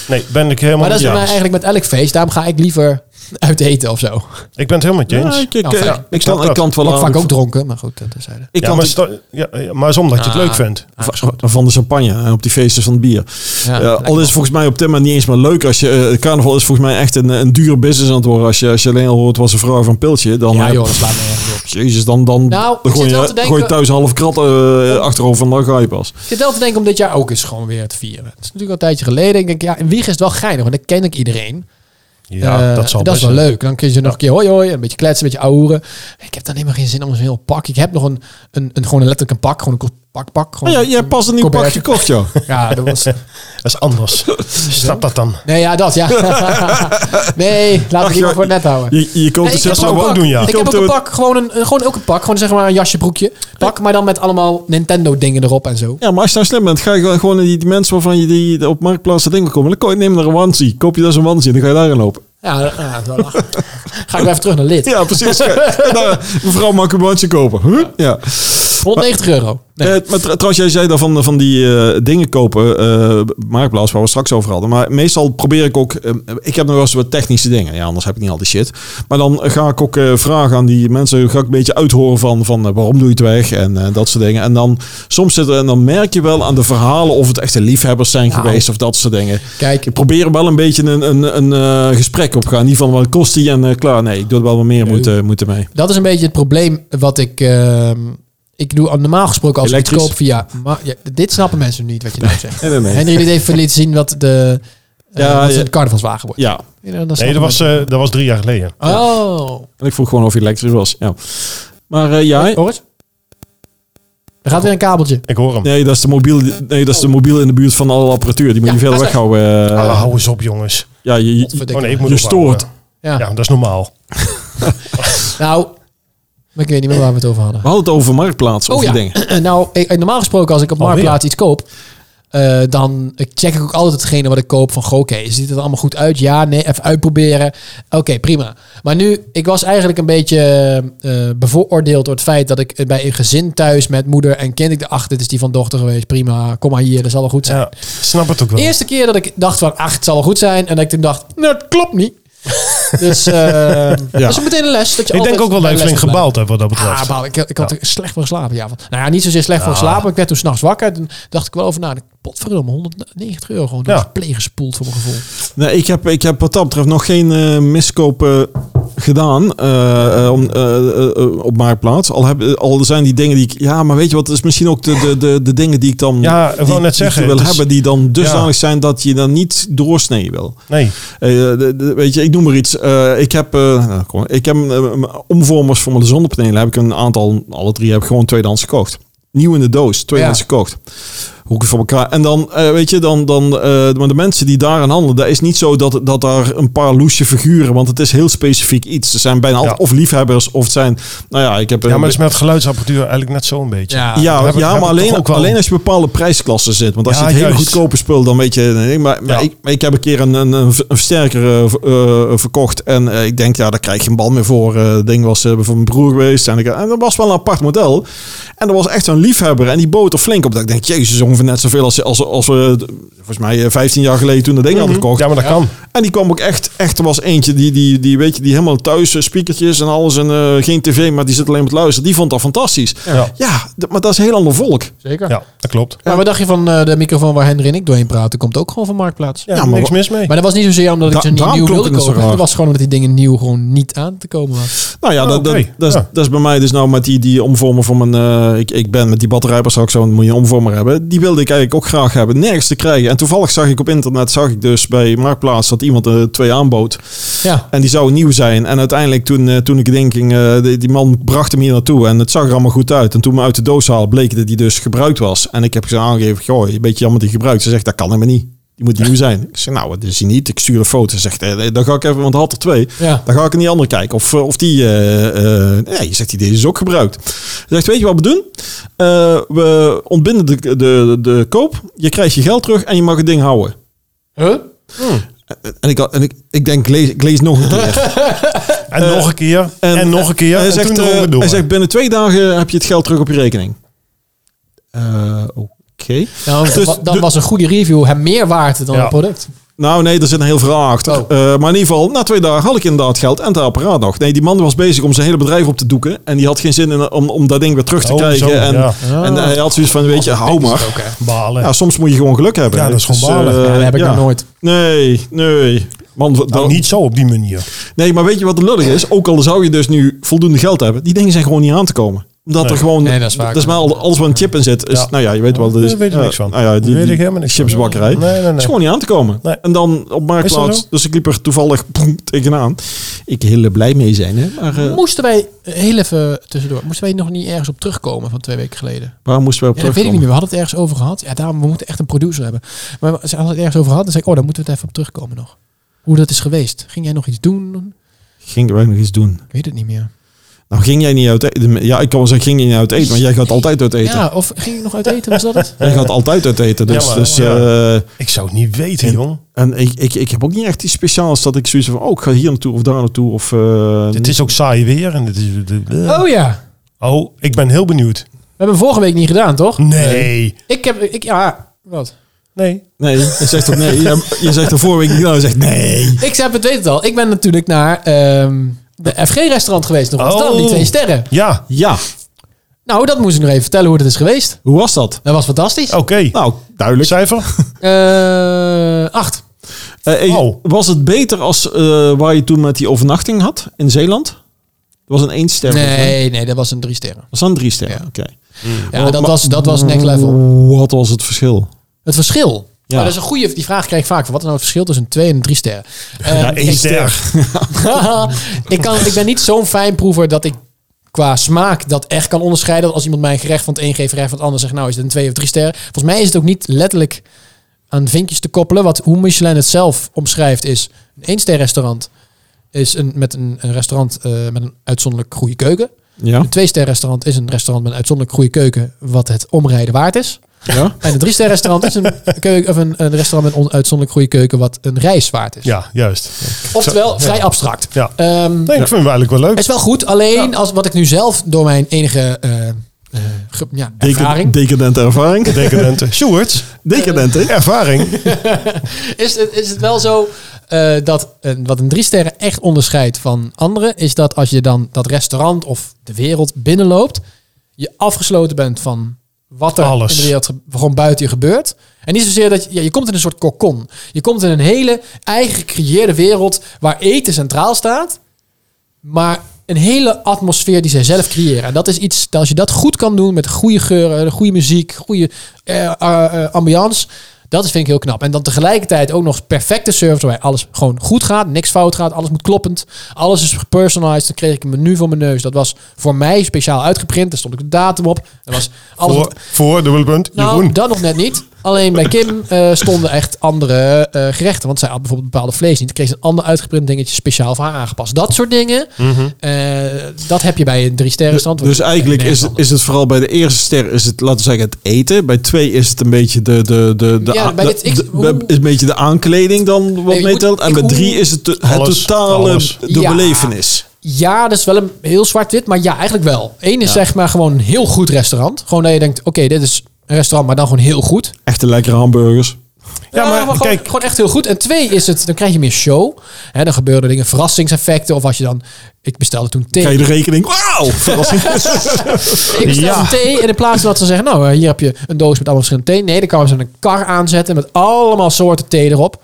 Nee, ben ik helemaal
Maar dat
met
is
je
bij mij
eens.
eigenlijk met elk feest. Daarom ga ik liever uit eten of zo.
Ik ben het helemaal met je eens.
Ja, ik, ik,
Nou,
eh,
fijn.
ik, kan, ik kan het wel
ik
aan.
vaak ook dronken, maar goed, dat zeiden.
Ik
Ja,
kan
maar,
het-
sta- ja, ja, maar is omdat je het
Ah.
leuk vindt.
van, van de champagne en op die feesten van het bier.
Ja,
Eh,
lekker
al is het volgens mij op dit moment niet eens meer leuk als je. eh, carnaval is volgens mij echt een, een dure business aan het worden. Als je, als je alleen al hoort was een vrouw van piltje, dan.
Ja,
eh,
joh, dat slaat me ergens op.
Jezus, dan, dan,
Nou,
dan
ik
gooi,
zit wel
je,
te denken-
gooi je thuis een half krat eh, achterover en dan ga je pas.
Ik zit wel te denken om dit jaar ook eens gewoon weer te vieren. Het is natuurlijk al een tijdje geleden. Ik denk, ja, in Wieg is het wel geinig, want dan ken ik iedereen.
Ja,
Eh,
dat zal
Dat is
best
wel leuk. Dan kun je ze nog een keer hoi hoi, een beetje kletsen, een beetje ouwen. Ik heb dan helemaal geen zin om zo'n heel pak. Ik heb nog een, een, een gewoon een letterlijk een pak, gewoon een kort pak, pak.
Maar
Gewoon,
ja, jij hebt pas een nieuw pak
Colbert.
gekocht, joh.
Ja, dat was...
Dat is anders. Snap dat dan.
Nee, ja, dat, ja. nee, laat
Ach,
ik het
joh,
maar voor net houden.
Je, je
Nee,
koopt er
ik heb
zelfs
zou
ook
ik
een
ook
pak.
doen, ja.
Ik heb ook
Komt
een
er-
pak, gewoon, een, een- gewoon ook een pak. Gewoon zeg maar een jasje, broekje. Pak, maar dan met allemaal Nintendo dingen erop en zo.
Ja, maar als je nou slim bent, ga je gewoon- gewoon naar die, die mensen waarvan je die op marktplaats dat ding wil komen. Dan koop je, neem er een onesie. Koop je daar zo'n onesie en dan ga je daarin lopen.
Ja, dat- ja dat is wel lachen. Ga ik weer even terug naar lid.
Ja, precies. Ga- en dan, mevrouw, mag ik een onesie kopen? Huh? Ja.
190 euro. Nee.
Eh, maar tr- trouwens, jij zei dan van, van die eh, dingen kopen, eh marktplaats waar we straks over hadden. Maar meestal probeer ik ook, eh, ik heb nog wel eens wat technische dingen. Ja, anders heb ik niet al die shit. Maar dan ga ik ook eh, vragen aan die mensen, ga ik een beetje uithoren van, van eh, waarom doe je het weg en eh, dat soort dingen. En dan soms zit er, en dan merk je wel aan de verhalen of het echte liefhebbers zijn
Nou.
geweest of dat soort dingen.
Kijk,
Ik probeer er wel een beetje een, een, een eh, gesprek op te gaan. Niet van wat kost die en eh, klaar. Nee, ik doe er wel wat meer
Nee.
moeten, moeten mee.
dat is een beetje het probleem wat ik... ehm, ik doe normaal gesproken als ik
Elektrisch.
het koop via... Maar, ja, dit snappen mensen nu niet wat je nou zegt.
Nee, nee, nee.
Henry liet even liet zien wat de... eh,
Ja,
wat
ja.
een carnavalswagen wordt.
Ja,
Ja, dan snappen
Nee, dat was,
mensen.
eh, dat was drie jaar geleden.
Oh.
en ik vroeg gewoon of hij elektrisch was. Ja. Maar eh, ja,
Hoor eens. Er gaat weer een kabeltje.
Ik hoor hem.
Oh, Nee, dat is de mobiel, nee, dat is de mobiel in de buurt van alle apparatuur. Die moet
Oh. Ja,
je verder
dat is-
weghouden. eh.
Ah, hou eens op, jongens.
ja, je, je-
Godverdikke.
Oh nee, ik moet
je
ophouden.
stoort.
Ja.
Ja, dat is normaal.
Nou, maar ik weet niet meer waar we het over hadden.
we hadden het over marktplaatsen.
Oh
of
ja,
die dingen.
nou, ik- normaal gesproken als ik op
Alweer.
Marktplaats iets koop, eh, dan check ik ook altijd hetgene wat ik koop van, goh, oké, ziet het er allemaal goed uit? Ja, nee, even uitproberen. Oké, prima. Maar nu, ik was eigenlijk een beetje eh, bevooroordeeld door het feit dat ik eh, bij een gezin thuis met moeder en kind, ik dacht, ach, dit is die van dochter geweest, prima, kom maar hier, dat zal wel goed zijn.
Ja, snap het ook wel.
De eerste keer dat ik dacht van, ach, het zal wel goed zijn, en dat ik toen dacht, nou, het klopt niet. dus eh, dat is meteen een les. Dat je
ik denk
altijd
ook wel
bij
dat ik
les
flink
moet blijven.
gebaald heb wat dat betreft.
Ah, baal. ik, ik had er slecht voor geslapen. Ja, want, nou ja, niet zozeer slecht voor
Ah.
geslapen. Ik werd toen s'nachts wakker. Toen dacht ik wel over na. Potverdomme, 190 euro gewoon door
Ja.
het pleeg gespoeld voor mijn gevoel.
Nee, ik, heb, ik heb wat dat betreft nog geen eh, miskopen gedaan eh, eh, om, eh, eh, eh, op Marktplaats. Al, heb, al zijn die dingen die ik... Ja, maar weet je wat? Het is misschien ook de, de, de, de dingen die ik dan...
Ja, ik wou
die-
net
die ik
zeggen,
wil
het is-
hebben die dan dusdanig zijn dat je dan niet doorsnee wil.
nee,
Eh, de- de- weet je, ik noem maar iets. Eh, ik heb, eh, nou, kom, ik heb eh, m- omvormers voor mijn zonnepanelen. Heb ik een aantal, alle drie heb ik gewoon tweedehands gekocht. Nieuw in de doos, tweedehands
Ja.
gekocht. Hoe ik het voor elkaar. En dan, eh, weet je, dan, dan, eh, maar de mensen die daaraan handelen, dat is niet zo dat, dat daar een paar loesje figuren, want het is heel specifiek iets. Ze zijn bijna altijd
Ja.
of liefhebbers of het zijn, nou ja, ik heb
ja, maar
een-
dat is met geluidsapparatuur eigenlijk net zo'n beetje.
Ja,
ja,
Ah, heb ik-
ja
heb
maar
ik
alleen,
toch ook wel-
alleen als je bepaalde prijsklassen zit. Want als
Ja,
je het hele
juist.
goedkope spul, dan weet je... nee, maar, maar
Ja.
ik, maar ik heb een keer een, een, een ver- een versterker eh, v- eh, verkocht. En eh, ik denk, ja, daar krijg je een bal mee voor. Eh, Het ding was eh, van mijn broer geweest. En, ik, en dat was wel een apart model. En dat was echt een liefhebber. En die boot er flink op. Dat ik denk, jezus, ongeveer net zoveel als, als, als we... eh, Volgens mij eh, 15 jaar geleden toen dat ding hadden gekocht.
Mhm. Ja, maar dat kan.
En die kwam ook echt, echt er was eentje die, die, die, weet je, die helemaal thuis, eh, speakertjes en alles en eh, geen tv, maar die zit alleen maar te luisteren. Die vond dat fantastisch.
Ja.
Ja, d- maar dat is een heel ander volk.
zeker.
Ja, dat klopt.
Maar wat dacht je van eh, de microfoon waar Henry en ik doorheen praten? Komt ook gewoon van Marktplaats.
Ja,
Ja, maar
niks
wa-
mis mee.
Maar dat was niet zozeer omdat ik
Da-
ze niet
daarom
nieuw
klonk
wilde
het zo
kopen.
raar.
Het was gewoon omdat die dingen nieuw gewoon niet aan te komen was.
Nou ja,
Oh,
dat, dat,
oké.
dat, is,
Ja.
dat is bij mij dus nou met die, die omvormer van mijn... eh, ik, ik ben met die batterijpers ook zo'n moet je een omvormer hebben. Die wilde ik eigenlijk ook graag hebben. Nergens te krijgen. En toevallig zag ik op internet, zag ik dus bij Marktplaats dat iemand er twee aanbood.
Ja.
En die zou nieuw zijn. En uiteindelijk toen, eh, toen ik het ding ging, eh, die, die man bracht hem hier naartoe. En het zag er allemaal goed uit. En toen we uit de doos haalden, bleek dat die dus gebruikt was. En ik heb ze aangegeven, goh, een beetje jammer die gebruikt. Ze zegt, dat kan helemaal niet. Die moet nieuw zijn. Ik zeg, nou, dat is hij niet. Ik stuur een foto. Ze zegt, eh, dan ga ik even, want hij had er twee.
Ja.
Dan ga ik in die andere kijken. Of, eh, of die... eh, eh, nee, je zegt, die deze is ook gebruikt. Ze zegt, weet je wat we doen? Eh, we ontbinden de, de, de koop. Je krijgt je geld terug en je mag het ding houden.
Huh?
Hmm.
En ik, had- en ik, ik denk, ik lees, ik lees nog een keer.
En nog een keer. En,
En,
nog een keer.
hij,
En
zegt,
toen
eh,
erom door.
hij zegt, binnen twee dagen heb je het geld terug op je rekening. Eh, Oké.
Nou,
Dus
dan, dan
de-
was een goede review hem meer waard dan
Ja.
het product.
Nou nee, er zit een heel verhaal achter.
Oh.
Eh, maar in ieder geval, na twee dagen had ik inderdaad geld en het apparaat nog. Nee, die man was bezig om zijn hele bedrijf op te doeken. En die had geen zin in, om, om dat ding weer terug te
Oh,
krijgen.
zo,
en,
ja. Ah. Oh,
en hij had zoiets van, weet je, hou maar.
Balen.
Ja, soms moet je gewoon geluk hebben.
Ja, dat is gewoon balen.
eh,
Ja, dat heb ik
ja.
nog nooit.
Nee, nee. Man,
nou,
dan-
niet zo op die manier.
Nee, maar weet je wat de lullig is? Ook al zou je dus nu voldoende geld hebben, die dingen zijn gewoon niet aan te komen. Omdat
Nee.
er gewoon,
Nee, dat is waar.
maar al- alles waar een chip in zit. Is,
Ja.
Nou ja, je weet wel, dat is,
Daar weet ik
ja,
niks van.
Nou ja, die,
Weet
die
ik helemaal niks van.
chipsbakkerij.
Nee, nee, nee.
Is gewoon niet aan te komen.
Nee.
En dan op
Is dat
marktplaats,
zo?
dus ik liep er toevallig boem, tegenaan. Ik heel blij mee zijn, hè? Maar eh,
Moesten wij, eh, heel even tussendoor, moesten wij nog niet ergens op terugkomen van twee weken geleden?
waar moesten we op
Ja, dat weet ik
terugkomen?
niet meer. We hadden het ergens over gehad. Ja, daarom, we moeten echt een producer hebben. Maar we- ze hadden het ergens over gehad. Dan zei ik, oh, daar moeten we het even op terugkomen nog. Hoe dat is geweest. Ging jij nog iets doen?
Ging wij nog iets doen?
Ik weet het niet meer.
Nou, ging jij niet uit eten? Ja, ik kan wel zeggen, ging je niet uit eten? Maar jij gaat altijd uit eten.
Ja, of ging ik nog uit eten? Was dat het?
Jij gaat altijd uit eten. Dus,
Ja, maar-
dus
ja.
eh,
Ik zou het niet weten,
En-
jong.
En ik, ik, ik heb ook niet echt iets speciaals dat ik zoiets van, oh, ik ga hier naartoe of daar naartoe. Of, eh,
Het is ook saai weer. En het is, de- de-
Oh ja.
oh, ik ben heel benieuwd.
We hebben hem vorige week niet gedaan, toch?
Nee.
Ik heb, ik, ja, wat?
Nee.
Nee, je zegt toch nee. Je, je zegt er vorige week niet, nou, je zegt nee.
Ik heb het, weet het al. Ik ben natuurlijk naar ehm, de FG-restaurant geweest nog. Amsterdam,
Oh.
die twee sterren.
Ja,
Ja,
Nou, dat moest ik nog even vertellen hoe dat is geweest.
hoe was dat?
Dat was fantastisch.
oké.
Nou, duidelijk.
Cijfer?
Eh, acht.
Eh, eh,
Oh.
Was het beter als eh, waar je toen met die overnachting had in Zeeland? Dat was een één ster.
Nee, nee, dat was een drie sterren.
Dat was dan drie sterren,
Ja.
oké.
Ja, dat was, dat was next level.
Wat was het verschil?
Het verschil.
Ja.
Maar dat is een goede die vraag krijg ik vaak. Wat is nou het verschil tussen een 2 en een 3 sterren? Eh,
Ja, Nou, één
kijk,
ster.
ik, kan, ik ben niet zo'n fijnproever dat ik qua smaak dat echt kan onderscheiden. Dat als iemand mij een gerecht van het een geeft, gerecht van het ander zegt, nou is het een twee of drie sterren. Volgens mij is het ook niet letterlijk aan vinkjes te koppelen. Wat hoe Michelin het zelf omschrijft is een één restaurant is een, met een, een restaurant eh, met een uitzonderlijk goede keuken.
Ja.
Een twee restaurant is een restaurant met een uitzonderlijk goede keuken wat het omrijden waard is.
ja.
En een drie restaurant is een, keuken, of een, een restaurant met een on- uitzonderlijk goede keuken wat een reis waard is.
Ja, juist.
Oftewel, vrij abstract.
Ja.
Ehm,
Nee, ik vind hem eigenlijk wel leuk.
is wel goed, alleen als wat ik nu zelf door mijn enige eh, eh, ge- ja,
Deken,
ervaring
decadente ervaring.
Decadente. Sjoerd,
Eh,
Decadente.
ervaring.
is het, is het wel zo eh, dat een- wat een drie sterren echt onderscheidt van anderen, is dat als je dan dat restaurant of de wereld binnenloopt, je afgesloten bent van wat er
Alles.
in de wereld ge- gewoon buiten je gebeurt. En niet zozeer dat je, ja, je komt in een soort kokon. Je komt in een hele eigen gecreëerde wereld waar eten centraal staat, maar een hele atmosfeer die zij zelf creëren. En dat is iets, als je dat goed kan doen met goede geuren, goede muziek, goede eh, eh, eh, ambiance, dat is, vind ik heel knap. En dan tegelijkertijd ook nog perfecte service waarbij alles gewoon goed gaat, niks fout gaat, alles moet kloppend, alles is gepersonalized. Dan kreeg ik een menu voor mijn neus. Dat was voor mij speciaal uitgeprint. Daar stond ik de datum op. Dat was alles.
Voor, voor dubbele punt,
nou,
Jeroen.
dat nog net niet. Alleen bij Kim eh, stonden echt andere eh, gerechten. Want zij had bijvoorbeeld bepaalde vlees niet. Dan kreeg ze een ander uitgeprint dingetje speciaal voor haar aangepast. Dat soort dingen. eh, dat heb je bij een drie sterren stand.
Mhm. Dus eigenlijk is, is het vooral bij de eerste ster is het, laten we zeggen, het eten. Bij twee is het een beetje de, de, de, de,
Ja,
aan-
bij
de-
dit- ik-
de-
hoe-
is een beetje de aankleding dan wat
ik
meetelt.
moet-
En
ik
bij
hoe-
drie is het de- het
Alles,
totale
alles.
de
Ja.
belevenis.
Ja, dat is wel een heel zwart-wit, maar ja, eigenlijk wel. Eén is
Ja.
zeg maar gewoon een heel goed restaurant. Gewoon dat je denkt, oké, dit is een restaurant, maar dan gewoon heel goed.
Echte lekkere hamburgers.
Ja, maar
gewoon,
kijk-
gewoon echt heel goed. En twee is het, dan krijg je meer show. Hè, dan gebeuren er dingen, verrassingseffecten. Of als je dan, ik bestelde toen thee.
Krijg je de rekening? Wauw! Verrassing.
Ik bestel
Ja.
een thee en in plaats van dat ze zeggen, nou, eh, hier heb je een doos met allemaal verschillende thee. Nee, dan kwamen ze een kar aanzetten met allemaal soorten thee erop.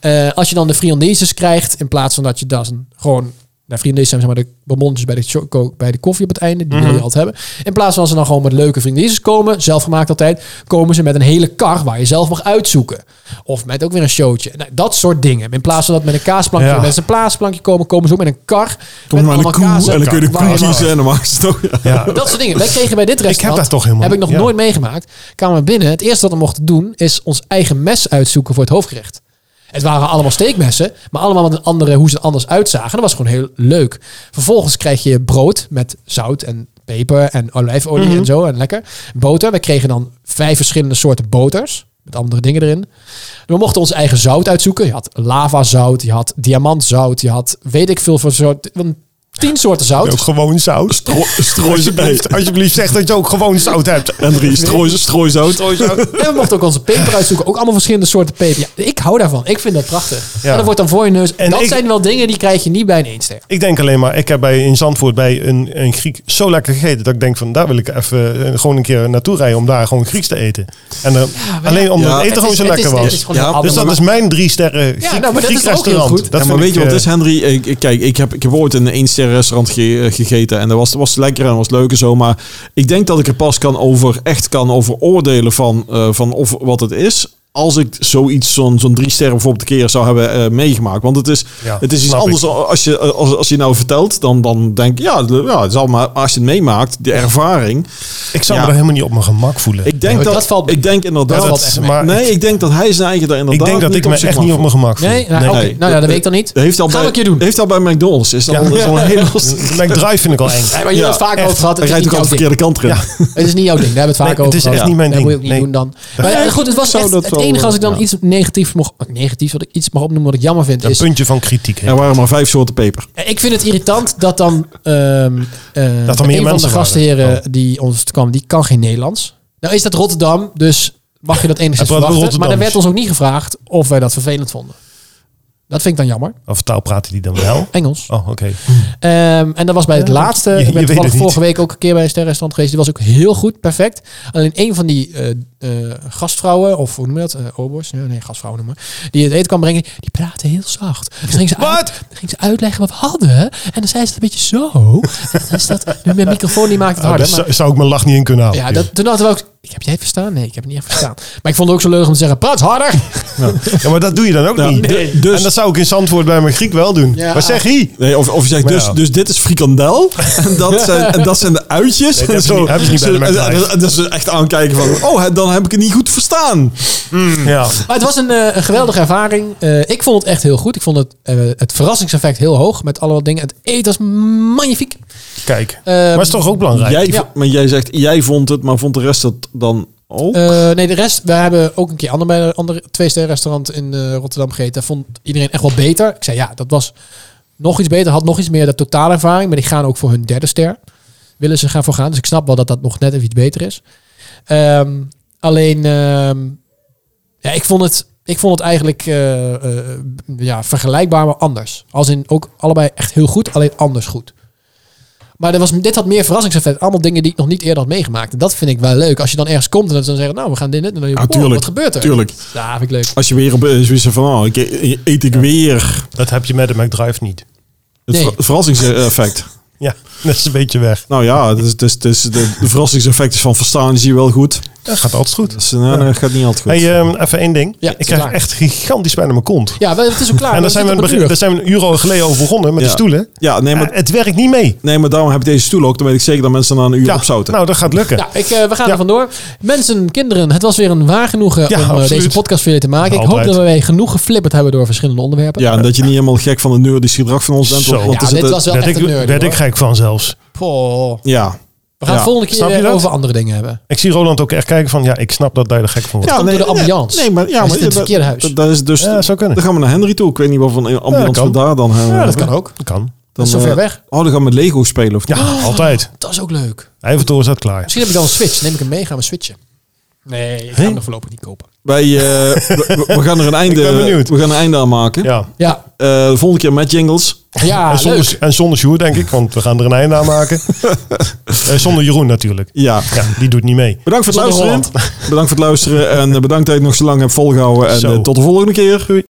Eh, als je dan de friandises krijgt, in plaats van dat je dat een- gewoon... Nou, friandises zijn zeg maar de bonbonnetjes bij de, choco- bij de koffie op het einde. Die
Mhm.
wil je altijd hebben. In plaats van ze dan gewoon met leuke friandises komen, zelfgemaakt altijd, komen ze met een hele kar waar je zelf mag uitzoeken. Of met ook weer een showtje. Nou, dat soort dingen. In plaats van dat met een kaasplankje
Ja.
met een plaasplankje komen, komen ze ook met een kar.
Kom maar aan de koe en dan kun je de
waar
koe
mag
kiezen en dan mag ze het ook. Ja.
Ja.
dat soort dingen. Wij kregen bij dit restaurant.
dat toch helemaal
Heb ik nog
niet, ja.
nooit meegemaakt. Kwamen we binnen. Het eerste wat we mochten doen is ons eigen mes uitzoeken voor het hoofdgerecht. Het waren allemaal steekmessen, maar allemaal met een andere, hoe ze er anders uitzagen. Dat was gewoon heel leuk. Vervolgens krijg je brood met zout en peper en olijfolie
Mhm.
en zo. En lekker. Boter. We kregen dan vijf verschillende soorten boters. Met andere dingen erin. We mochten ons eigen zout uitzoeken. Je had lavazout, je had diamantzout, je had weet ik veel voor soort. Tien soorten zout.
Ook gewoon zout.
Stro- Strooi ze bij.
Alsjeblieft, alsjeblieft zeg dat je ook gewoon zout hebt.
En drie, strooi ze- strooi ze uit.
En we mochten ook onze peper uitzoeken. Ook allemaal verschillende soorten peper. Ja, ik hou daarvan. Ik vind dat prachtig.
Ja.
En dat wordt dan voor je neus.
En
dat
ik-
zijn wel dingen die krijg je niet bij een eenster.
Ik denk alleen maar, ik heb bij, in Zandvoort bij een, een Griek zo lekker gegeten dat ik denk van daar wil ik even eh, gewoon een keer naartoe rijden om daar gewoon Grieks te eten. En dan, alleen omdat
Ja.
het eten
Het
gewoon
is-
zo
het
lekker
is- het is
was.
gewoon
Ja,
een
Dus
ander-
dat is mijn drie sterren Griek,
Ja, nou, maar dat
Griek
is ook heel
restaurant.
goed.
Dat
ja,
vind
maar weet
ik,
je wat
eh,
het is, Henry? Ik, ik- kijk, ik heb, ik heb ooit in een 1 restaurant ge- eh, gegeten. En dat was, was lekker en was leuk en zo. Maar ik denk dat ik er pas kan over, echt kan over oordelen van, eh, van of, wat het is. Als ik zoiets, zo'n zo'n drie sterren bijvoorbeeld een keer zou hebben eh, meegemaakt. Want het is,
Ja,
het is iets
snap ik.
anders als je, als, als je nou vertelt. Dan, dan denk ik, ja, de- ja het zal maar, maar als je het meemaakt, de ervaring.
Ik zou
Ja.
me daar helemaal niet op mijn gemak voelen.
Ik denk
Ja,
dat,
dat valt-
ik denk
dat
inderdaad.
valt echt mee.
maar
nee, ik denk dat hij zijn eigen daar
ik,
inderdaad
denk dat
niet
ik me
zich
echt
mag
niet op mijn gemak voel.
Nee, nou, oké.
Nee.
nou ja, dat weet ik dan niet.
heeft al
Gaan
bij,
we een keer doen.
Heeft al bij McDonald's. Is dan
Ja.
al is al een hele
Mijn drive vind ik al eng.
Nee, maar je
Ja,
hebt het vaak
echt.
over gehad. Het
Hij
is, niet
rijdt ook al
jouw ding.
de verkeerde kant erin.
het is niet jouw ding. Daar hebben we het vaak
Nee,
over
het is
gehad.
echt niet mijn
dat
ding.
moet je ook
Nee.
niet doen dan. Maar
Nee,
eh, goed, het was
zou
echt
dat
het
wel,
enige als ik dan
ja.
iets negatiefs mocht... Negatiefs, wat ik iets mag opnoemen wat ik jammer vind,
Een
is...
puntje van kritiek. hè.
Er waren maar vijf soorten peper.
Ik vind het irritant dat dan ehm, eh,
Dat er
een
meer
van de
mensen
gastheren
waren. Oh.
die ons kwam, die kan geen Nederlands. Nou is dat Rotterdam, dus mag je dat enigszins
Het was wel
verwachten. Maar er
Rotterdams.
werd ons ook niet gevraagd of wij dat vervelend vonden. Dat vind ik dan jammer.
Of taal praten die dan wel?
Engels.
Oh, oké.
Ehm, en dat was bij het
Ja,
laatste.
je-
ik
je
ben
weet
toevallig
het niet.
vorige week ook een keer bij een sterrenrestaurant geweest. Die was ook heel goed, perfect. Alleen een van die eh, eh, gastvrouwen, of hoe noem je dat? Eh obers? Nee, nee, gastvrouwen noemen. Die het eten kwam brengen, die praatte heel zacht. Dus ging ze, uit, ging ze uitleggen wat we hadden. En dan zei ze het een beetje zo. En dan is dat, nu mijn microfoon die maakt het
Oh,
harder.
dus
maar-
zou- zou ik mijn lach niet in kunnen houden.
ja, dat, toen hadden we ook... Ik heb jij verstaan? Nee, ik heb het niet echt verstaan. Maar ik vond het ook zo leuk om te zeggen, praat harder!
Ja, maar dat doe je dan ook
Ja,
niet.
d- dus-
En dat zou ik in Zandvoort bij mijn Griek wel doen.
Ja.
maar zeg hier.
Nee, of, of je zegt,
Maar
dus,
ja.
dus dit is frikandel. En dat zijn, en dat zijn de uitjes.
Nee, dat hebben ze niet- hebben ze niet bij de
en-
McDrive.
en dat- en dat ze echt aankijken van... Oh, hè, dan heb ik het niet goed verstaan.
Ja.
Maar het was een, eh, een geweldige ervaring. Eh, ik vond het echt heel goed. Ik vond het, eh, het verrassingseffect heel hoog met alle dingen. Het eten was magnifiek.
Kijk.
Eh,
maar is toch ook belangrijk?
Jij,
Ja.
v- Maar jij zegt, jij vond het, maar vond de rest dat dan oh. ook?
eh, nee, de rest. We hebben ook een keer ander, bij een ander twee-sterren restaurant in eh, Rotterdam gegeten. Dat vond iedereen echt wel beter. Ik zei ja, dat was nog iets beter. Had nog iets meer de totale ervaring. Maar die gaan ook voor hun derde ster. Willen ze gaan voor gaan. Dus ik snap wel dat dat nog net even iets beter is. Ehm, alleen, ehm, ja, ik vond het, ik vond het eigenlijk eh, eh, ja, vergelijkbaar, maar anders. Als in ook allebei echt heel goed, alleen anders goed. Maar er was, dit had meer verrassingseffect. Allemaal dingen die ik nog niet eerder had meegemaakt. En dat vind ik wel leuk. Als je dan ergens komt en dat ze dan zeggen, nou, we gaan dit en dit. En dan denk je,
Ah,
wow,
tuurlijk.
wat gebeurt er?
Tuurlijk.
Ja, vind ik leuk.
Als je weer op eh, zoiets van... Oh, ik, eet ik weer
Dat heb je met de McDrive niet.
het
Nee.
ver- verrassingseffect.
Ja, dat is een beetje weg.
nou ja, het is, het is, het is de, de verrassingseffect is van verstaan zie je wel goed.
Dat gaat altijd goed.
Dus, eh, nou, dat gaat niet altijd goed.
Hey, ehm, even één ding.
Ja,
ik
is
krijg
klaar.
echt gigantisch pijn in mijn kont.
Ja, wel, het is ook klaar.
en
We
daar zijn, we een
zitten op het
begin, daar zijn we een uur al geleden over begonnen met
Ja.
de stoelen.
ja, nee maar,
Eh, het werkt niet mee.
nee, maar daarom heb ik deze stoel ook. Dan weet ik zeker dat mensen na een uur opzouten.
nou, dat gaat lukken.
Nou, ik, eh, we gaan
Ja.
er vandoor. Mensen, kinderen, het was weer een waar genoegen
Ja,
om eh,
absoluut.
deze podcast voor je te maken. Ik hoop
Altijd.
dat we weer genoeg geflipperd hebben door verschillende onderwerpen.
ja, en dat je niet helemaal gek van het nerdisch gedrag van ons bent.
Zo.
want- want
Ja,
er
dit
zitten-
was wel
werd
echt
ik,
een nerd.
werd ik
hoor.
gek van zelfs.
Poh.
Ja.
We gaan
Ja.
volgende keer
Snap je
eh,
dat?
over andere dingen hebben.
Ik zie Roland ook echt kijken van, ja, ik snap dat daar de gek van wordt.
Ja, komt door de ambiance.
Nee, maar, ja,
Hij
maar
zit in het
dat-
verkeerde huis.
Dat, dat is dus,
Ja, dat zou kunnen.
Dan gaan we naar Henry toe. Ik weet niet wat voor een ambiance
kan.
we daar dan hebben.
Ja, dat kan ook. Dat kan.
Dan,
Zo ver
eh,
weg.
Oh, dan gaan we met Lego spelen of
Ja, altijd.
Dat is ook leuk.
Eiffeltoren staat klaar.
Misschien heb ik dan een Switch. Neem ik hem mee, gaan we switchen. Nee, ik ga hem nog voorlopig niet kopen.
Wij, eh, we, we gaan er een einde,
ben benieuwd.
we gaan er een einde aan maken.
Ja.
Ja,
Eh, de volgende keer met jingles.
ja
en, zonder,
Ah, leuk.
en zonder Sjoerd, denk ik, want we gaan er een einde aan maken. Eh, zonder Jeroen natuurlijk.
Ja.
Ja, die doet niet mee.
Bedankt voor het
Zonder
luisteren. Bedankt voor het luisteren. En eh, bedankt dat je het nog zo lang hebt volgehouden. En
Zo.
eh, tot de volgende keer.